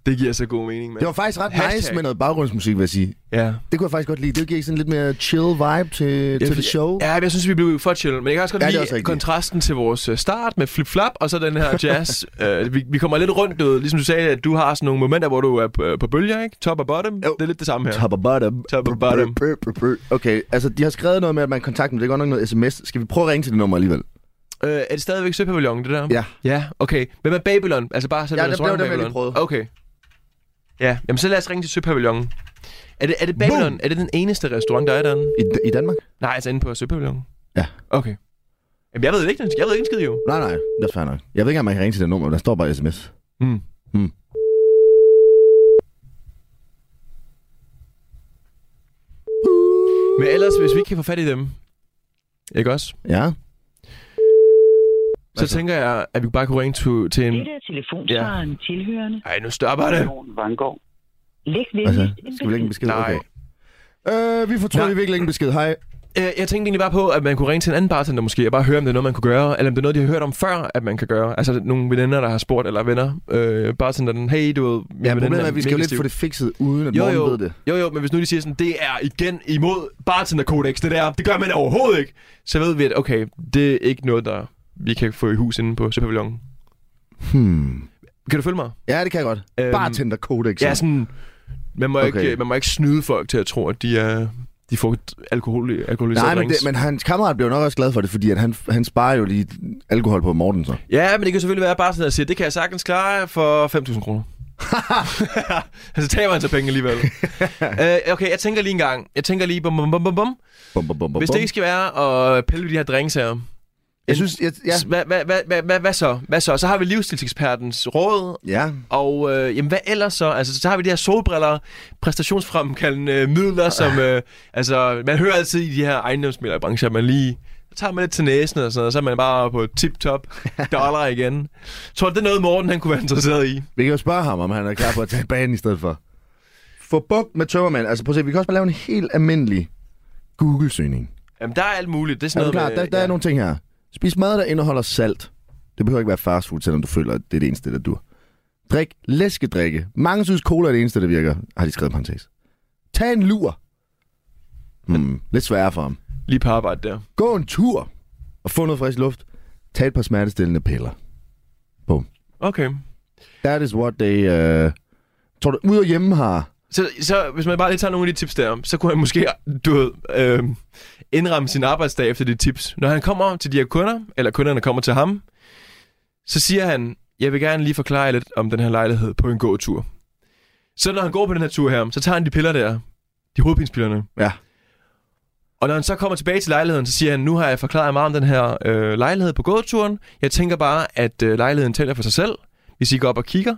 S4: Det giver så god mening, mand.
S3: Det var faktisk ret
S4: Hashtag.
S3: Hashtag. nice med noget baggrundsmusik, vil jeg sige.
S4: Ja.
S3: Det kunne jeg faktisk godt lide. Det giver sådan lidt mere chill vibe til, til
S4: for-
S3: det show.
S4: Ja, men jeg synes, vi blev for chill. Men jeg kan også godt
S3: Ja, det er
S4: lide
S3: også rigtigt.
S4: kontrasten til vores øh, start med flip-flap, og så den her jazz. uh, vi, vi kommer lidt rundt, du ved. Ligesom du sagde, at du har sådan nogle momenter, hvor du er øh, på, på bølger, ikke? Top og bottom.
S3: Jo.
S4: Det er lidt det samme her.
S3: Top og bottom.
S4: Top og bottom.
S3: Brr, brr, brr, brr. Okay, altså de har skrevet noget med, at man kontakter dem. Det er godt nok noget sms. Skal vi prøve at ringe til det nummer alligevel?
S4: Øh, er det stadigvæk Søpavillon, det der?
S3: Ja.
S4: Ja, okay. Hvem er Babylon? Altså bare
S3: Ja,
S4: sådan en
S3: det blev
S4: restaurant
S3: dem, jeg lige
S4: Babylon.
S3: prøvede.
S4: Okay. Ja, jamen så lad os ringe til Søpavillonen. Er det, er det Babylon?
S3: Boom!
S4: Er det den eneste restaurant, der er derinde?
S3: I, I Danmark?
S4: Nej, altså inde på Søpavillonen.
S3: Ja.
S4: Okay. Jamen jeg ved det ikke, jeg ved ikke en skid jo.
S3: Nej, nej. Det er fair nok. Jeg ved ikke, om man kan ringe til det nummer. Der står bare sms.
S4: Mm.
S3: Mm.
S4: Men ellers, hvis vi ikke kan få fat i dem, ikke også?
S3: Ja.
S4: Så
S3: Altså-
S4: tænker jeg, at vi bare kunne ringe to, til en...
S8: Dette er telefonsvaren ja. tilhørende.
S4: Ej, nu stopper det.
S6: Jon Vangård.
S8: Læg venligst
S3: Altså,
S8: altså, en
S3: skal vi lægge en
S8: besked.
S3: besked?
S4: Nej.
S3: Okay. Øh, vi fortryder,
S4: Nej.
S3: vi virkelig ikke en besked. Hej.
S4: Øh, Jeg tænkte egentlig bare på, at man kunne ringe til en anden bartender måske, og bare høre, om det er noget, man kunne gøre, eller om det er noget, de har hørt om før, at man kan gøre. Altså nogle veninder, der har spurgt, eller venner, øh, bartenderen, hey, du ved, min
S3: Ja,
S4: veninde
S3: problemet er, at vi skal jo
S4: mega
S3: lidt
S4: stiv."
S3: få det fikset, uden at
S4: jo,
S3: nogen
S4: jo,
S3: ved det.
S4: jo, jo, men hvis nu de siger sådan, det er igen imod bartenderkodex, det der, det gør man overhovedet ikke, så ved vi, at okay, det er ikke noget, der vi kan få i hus inde på Søpavillonen.
S3: Hmm.
S4: Kan du følge mig?
S3: Ja, det kan jeg godt.
S4: Øhm,
S3: Øhm, Bartender Codex.
S4: Ja, sådan, man må, okay.
S3: Okay.
S4: ikke, øh, man må ikke snyde folk til at tro, at de er... De får alkohol, alkoholiseret
S3: Nej, men, det,
S4: drinks.
S3: men hans kammerat blev nok også glad for det, fordi at han, han sparer jo lige alkohol på Morten så.
S4: Ja, men det kan selvfølgelig være, at bartender siger, det kan jeg sagtens klare for 5.000 kroner. altså taber han så penge alligevel. uh, okay, jeg tænker lige en gang. Jeg tænker lige, bum, bum, bum, bum, bum.
S3: Bum, bum, bum, bum,
S4: Hvis det ikke skal være at pille ved de her drinks her,
S3: Jeg synes, jeg, ja.
S4: ja. hvad, hvad, hvad, hvad, hvad, hvad, så? hvad så? Så har vi livsstilsekspertens råd,
S3: Ja,
S4: og øh, jamen, hvad ellers så? Altså, så har vi de her solbriller, præstationsfremkaldende øh, midler, som... Øh, altså, man hører altid i de her ejendomsmælerbrancher, at man lige... Så tager man lidt til næsen og sådan noget, så er man bare på tip-top dollar igen. Tror du, det er noget, Morten han kunne være interesseret i?
S3: vi kan jo spørge ham, om han er klar på at tage banen i stedet for. Få bugt med tømmermand. Altså prøv at se, vi kan også bare lave en helt almindelig Google-søgning.
S4: Jamen, der er alt muligt. Det er
S3: Er
S4: sådan
S3: du klar?
S4: noget
S3: Der, der er nogle ting her. Spis mad, der indeholder salt. Det behøver ikke være fast food, selvom du føler, at det er det eneste, der dur. Drik læskedrikke. Mange synes, cola er det eneste, der virker, har de skrevet i parentes. Tag en lur. Hmm, lidt sværere for ham.
S4: Lige på arbejde der.
S3: Gå en tur og få noget frisk luft. Tag et par smertestillende piller.
S4: Okay.
S3: That is what they... Uh... Tror du, ude og hjemme har...
S4: Så, så hvis man bare lige tager nogle af de tips der, så kunne han måske du ved, øh, indramme sin arbejdsdag efter de tips. Når han kommer til de her kunder, eller kunderne kommer til ham, så siger han, jeg vil gerne lige forklare jer lidt om den her lejlighed på en gåtur. Så når han går på den her tur her, så tager han de piller der, de hovedpinspillerne.
S3: Ja.
S4: Og når han så kommer tilbage til lejligheden, så siger han, nu har jeg forklaret jer meget om den her øh, lejlighed på gåturen. Jeg tænker bare, at øh, lejligheden taler for sig selv. Hvis I går op og kigger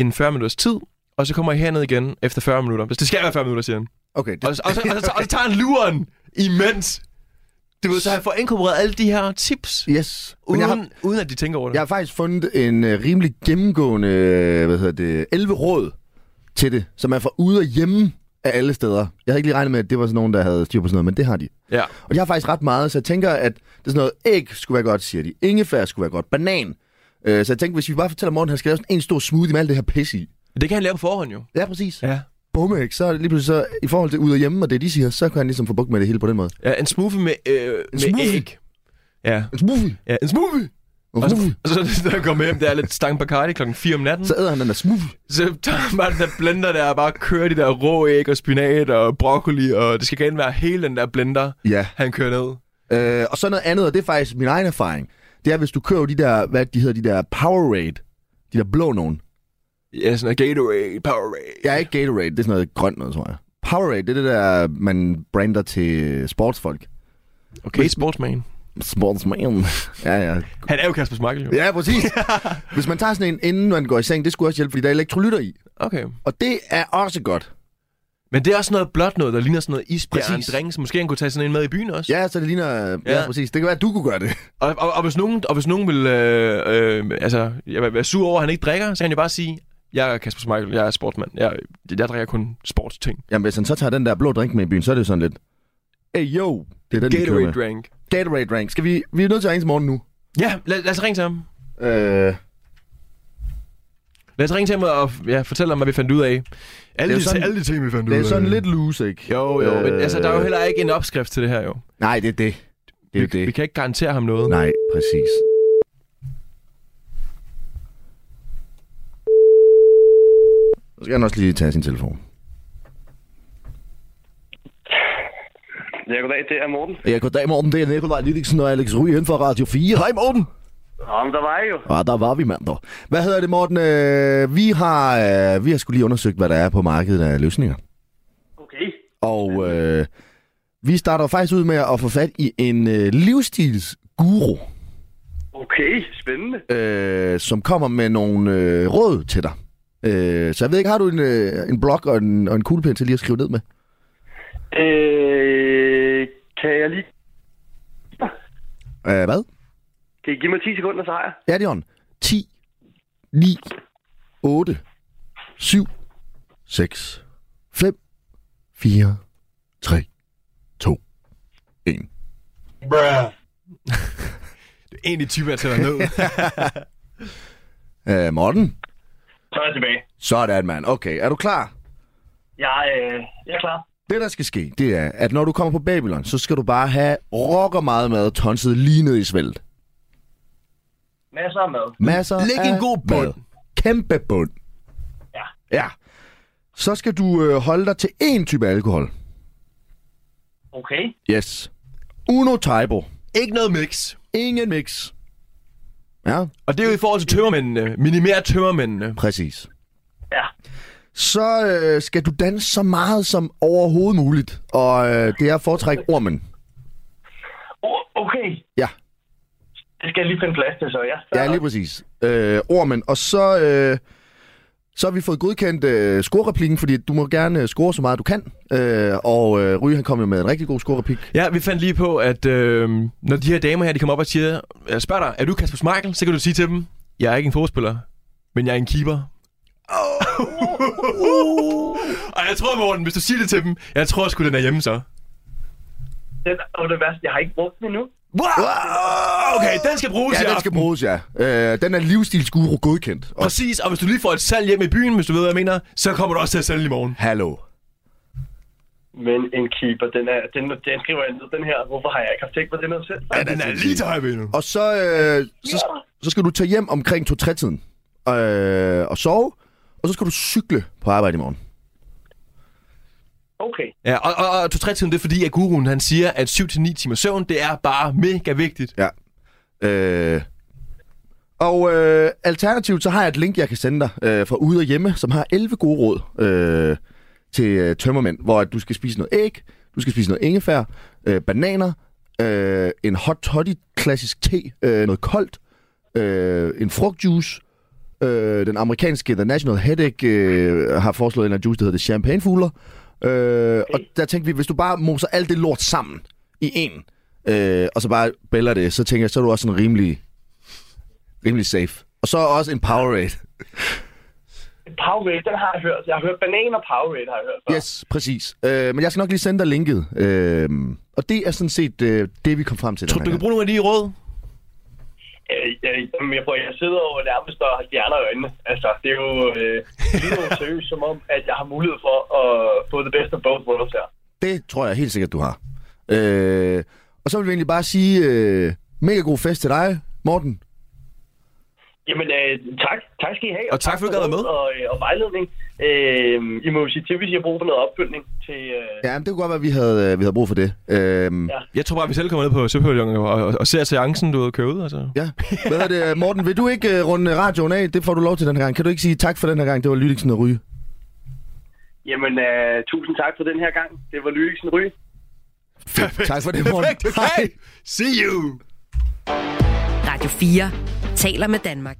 S4: inden 40 minutters tid, og så kommer I herned igen efter 40 minutter. Hvis det skal være 40 minutter, siger han.
S3: Okay, det...
S4: Og, og, så, og, så, og så tager han luren imens. Du ved, så han får inkorporeret alle de her tips,
S3: Yes. Men
S4: uden,
S3: jeg, har,
S4: uden at de tænker over det.
S3: jeg har faktisk fundet en øh, rimelig gennemgående, øh, hvad hedder det, 11 råd til det, som er fra ude og hjemme af alle steder. Jeg havde ikke lige regnet med, at det var sådan nogen, der havde styr på sådan noget, men det har de.
S4: Ja.
S3: Og de har faktisk ret meget, så jeg tænker, at det er sådan noget, æg skulle være godt, siger de. Ingefær skulle være godt. Banan. Øh, så jeg tænker, hvis vi bare fortæller Morten, at han skal lave sådan en stor smoothie med alt det her pis i.
S4: Det kan han lave på forhånd jo.
S3: Ja, præcis.
S4: Ja.
S3: Bumme, ikke? Så er det lige pludselig så, i forhold til ude og hjemme og det, de siger, så kan han ligesom få bukt med det hele på den måde.
S4: ja en smoothie med, øh, med
S3: smoothie?
S4: æg. Ja.
S3: En smoothie.
S4: ja, en smoothie.
S3: En
S4: Og så,
S3: smoothie.
S4: og så når han kommer hjem, der er lidt stang Bacardi klokken 4 om natten.
S3: Så æder han den der smoothie.
S4: Så tager han bare den der blender der, og bare kører de der rå æg og spinat og broccoli, og det skal gerne være hele den der blender,
S3: Ja.
S4: han kører ned.
S3: Øh, og så noget andet, og det er faktisk min egen erfaring. det er, hvis du kører de der, hvad de hedder, de der Powerade, de der blå nogen.
S4: Ja, sådan noget Gatorade, Powerade.
S3: Jeg er ikke Gatorade, det er sådan noget grønt noget, tror jeg. Powerade, det er det der, man brander til sportsfolk.
S4: Okay, sportsman.
S3: Sportsman. ja, ja.
S4: Han er jo Kasper Smakkel, jo.
S3: Ja, præcis. Hvis man tager sådan en, inden man går i seng, det skulle også hjælpe, fordi der er elektrolytter i.
S4: Okay.
S3: Og det er også godt.
S4: Men det er også noget blåt noget, der ligner sådan noget isbjerg en
S3: Præcis.
S4: drink, så måske han kunne tage sådan en med i byen også.
S3: Ja, så det ligner... Ja,
S4: Ja.
S3: ja præcis. Det kan være, at du kunne gøre det.
S4: Og, og, og, hvis nogen, og hvis nogen vil øh, øh, altså, jeg vil være sur over, at han ikke drikker, så kan han jo bare sige, jeg er Kasper Smeichel, jeg er sportsmand, jeg, jeg drikker kun sportsting.
S3: Jamen, hvis han så tager den der blå drink med i byen, så er det jo sådan lidt... Hey, yo! Det er den, vi kører
S4: Gatorade
S3: med.
S4: drink.
S3: Gatorade drink. Skal vi... Vi er nødt til at ringe til morgen nu.
S4: Ja, lad, lad os ringe til ham.
S3: Øh,
S4: Lad os ringe til ham og ja, fortælle ham, hvad vi fandt ud af. Alle,
S3: jo
S4: de,
S3: sådan-
S4: alle de ting, vi fandt ud
S3: det
S4: af.
S3: er sådan lidt loose, ikke?
S4: Jo, jo, men
S3: Øh,
S4: altså, der er jo heller ikke en opskrift til det her, jo.
S3: Nej, det er det. Det er
S4: vi,
S3: det.
S4: vi kan ikke garantere ham noget.
S3: Nej, præcis. Så skal han også lige tage sin telefon.
S5: Ja, goddag, det er Morten.
S3: Ja, goddag Morten, det er Nikolaj Lidiksen og Alex Ry inden for Radio 4. Hej Morten!
S5: Nå, men der var jeg jo.
S3: Ja, der var vi mand dog. Hvad hedder det Morten? Øh, Vi har, øh, vi har skulle lige undersøgt, hvad der er på markedet af løsninger.
S5: Okay.
S3: Og øh, vi starter jo faktisk ud med at få fat i en øh, livsstilsguru,
S5: Okay, spændende.
S3: øh, som kommer med nogle øh, råd til dig. Øh, så jeg ved ikke, har du en, øh, en blog og en, og en kuglepen til lige at skrive ned med?
S5: Øh, kan jeg lige...
S3: Øh, hvad?
S5: Kan I give mig 10 sekunder, så har jeg?
S3: Ja, det er on. 10, 9, 8, 7, 6, 5, 4, 3, 2, 1.
S4: Det er egentlig type, jeg tæller ned.
S3: Øh, Morten?
S5: Så er jeg tilbage.
S3: Sådan, mand. Okay, er du klar?
S5: Jeg, øh, jeg er klar.
S3: Det, der skal ske, det er, at når du kommer på Babylon, så skal du bare have rocker meget mad tonset lige ned i svælt.
S5: Masser af mad.
S3: Masser
S4: Læg en
S3: af
S4: god bund.
S3: mad. Kæmpe bund.
S5: Ja.
S3: Ja. Så skal du øh, holde dig til én type alkohol.
S5: Okay.
S3: Yes. Uno Taibo.
S4: ikke noget mix.
S3: Ingen mix. Ja,
S4: Og det er jo i forhold til tømmermændene. Minimere tømmermændene.
S3: præcis.
S5: Ja.
S3: Så øh, skal du danse så meget som overhovedet muligt. Og øh, det er at foretrække ormen.
S5: Oh, okay.
S3: Ja,
S5: Det skal jeg lige finde plads til, så ja.
S3: Ja, lige præcis. Øh, ormen. Og så, øh, så har vi fået godkendt øh, scorereplikken, fordi du må gerne øh, score så meget, du kan. Øh, og øh, Ry, han kom jo med en rigtig god scorereplik.
S4: Ja, vi fandt lige på, at øh, når de her damer her, de kommer op og siger, jeg spørger dig, er du Kasper Schmeichel? Så kan du sige til dem, jeg er ikke en fodspiller, men jeg er en keeper. Oh. og jeg tror, Morten, hvis du siger det til dem, jeg tror sgu, den er hjemme så.
S5: Den, og det værste, jeg har ikke brugt den endnu.
S4: Wow! Okay, den skal bruges i
S3: Ja, den skal
S4: aften.
S3: bruges, ja. Øh, den er livsstilsguru godkendt. Og
S4: Præcis, og hvis du lige får et salg hjem i byen, hvis du ved, hvad jeg mener, så kommer du også til at sælge i morgen.
S3: hallo.
S5: Men en keeper, den, er, den, den skriver jeg ned, den her. Hvorfor har jeg ikke haft tænkt på den her selv?
S4: Ja, den er lige til højre ben nu.
S3: Og så, øh, så, så skal du tage hjem omkring 2-3-tiden øh, og sove. Og så skal du cykle på arbejde i morgen.
S5: Okay.
S4: Ja, og, og, og 2-3-tiden, det er fordi, at guruen han siger, at 7-9 timer søvn, det er bare mega vigtigt.
S3: Ja. Øh. Og øh, alternativt, så har jeg et link, jeg kan sende dig øh, fra Ude og Hjemme, som har 11 gode råd øh, til øh, tømmermænd, hvor at du skal spise noget æg, du skal spise noget ingefær, øh, bananer, øh, en hot toddy klassisk te, øh, noget koldt, øh, en frugtjuice, øh, den amerikanske The National Headache øh, har foreslået en eller anden juice, der hedder det champagnefugler. Øh, okay. Og der tænkte vi, hvis du bare moser alt det lort sammen i en, øh, og så bare bæller det, så tænker jeg, så er du også sådan rimelig, rimelig safe. Og så også en Powerade.
S5: Powerade, den har jeg hørt. Jeg har hørt banan og Powerade, har jeg hørt. før.
S3: Yes, præcis. Øh, men jeg skal nok lige sende dig linket. Øh, og det er sådan set øh, det, vi kom frem til.
S4: Tror
S3: den
S4: du,
S3: her
S4: du kan bruge nogle af de råd?
S5: Øh, øh, jamen, jeg, prøver, jeg sidder over nærmest og fjerner øjnene. Altså, det er jo øh, det er jo seriøst, som om, at jeg har mulighed for at få det bedste af both worlds her.
S3: gang. Det tror jeg helt sikkert, du har. Øh, og så vil vi egentlig bare sige, øh, mega god fest til dig, Morten.
S5: Jamen, øh, tak. Tak skal I have.
S4: Og tak, fordi du gad være med.
S5: Og, øh, og vejledning. Øh, I må jo sige til, hvis I har brug for noget opfølgning til... Øh,
S3: Ja, men det kunne godt være, at vi havde, øh, vi havde brug for det. Øhm,
S5: Ja.
S4: Jeg tror bare, vi selv kommer ned på Søpavillon og, og, og ser seancen, du ved, køre ud. Altså.
S3: ja. Hvad er det, Morten? Vil du ikke øh, runde radioen af? Det får du lov til den her gang. Kan du ikke sige tak for den her gang? Det var Lydingsen og Ryge.
S5: Jamen, øh, tusind tak for den her gang. Det var Lyriksen Ry.
S3: Fedt. Tak for det, Morten.
S4: Perfekt, okay. See you.
S2: Radio 4 taler med Danmark.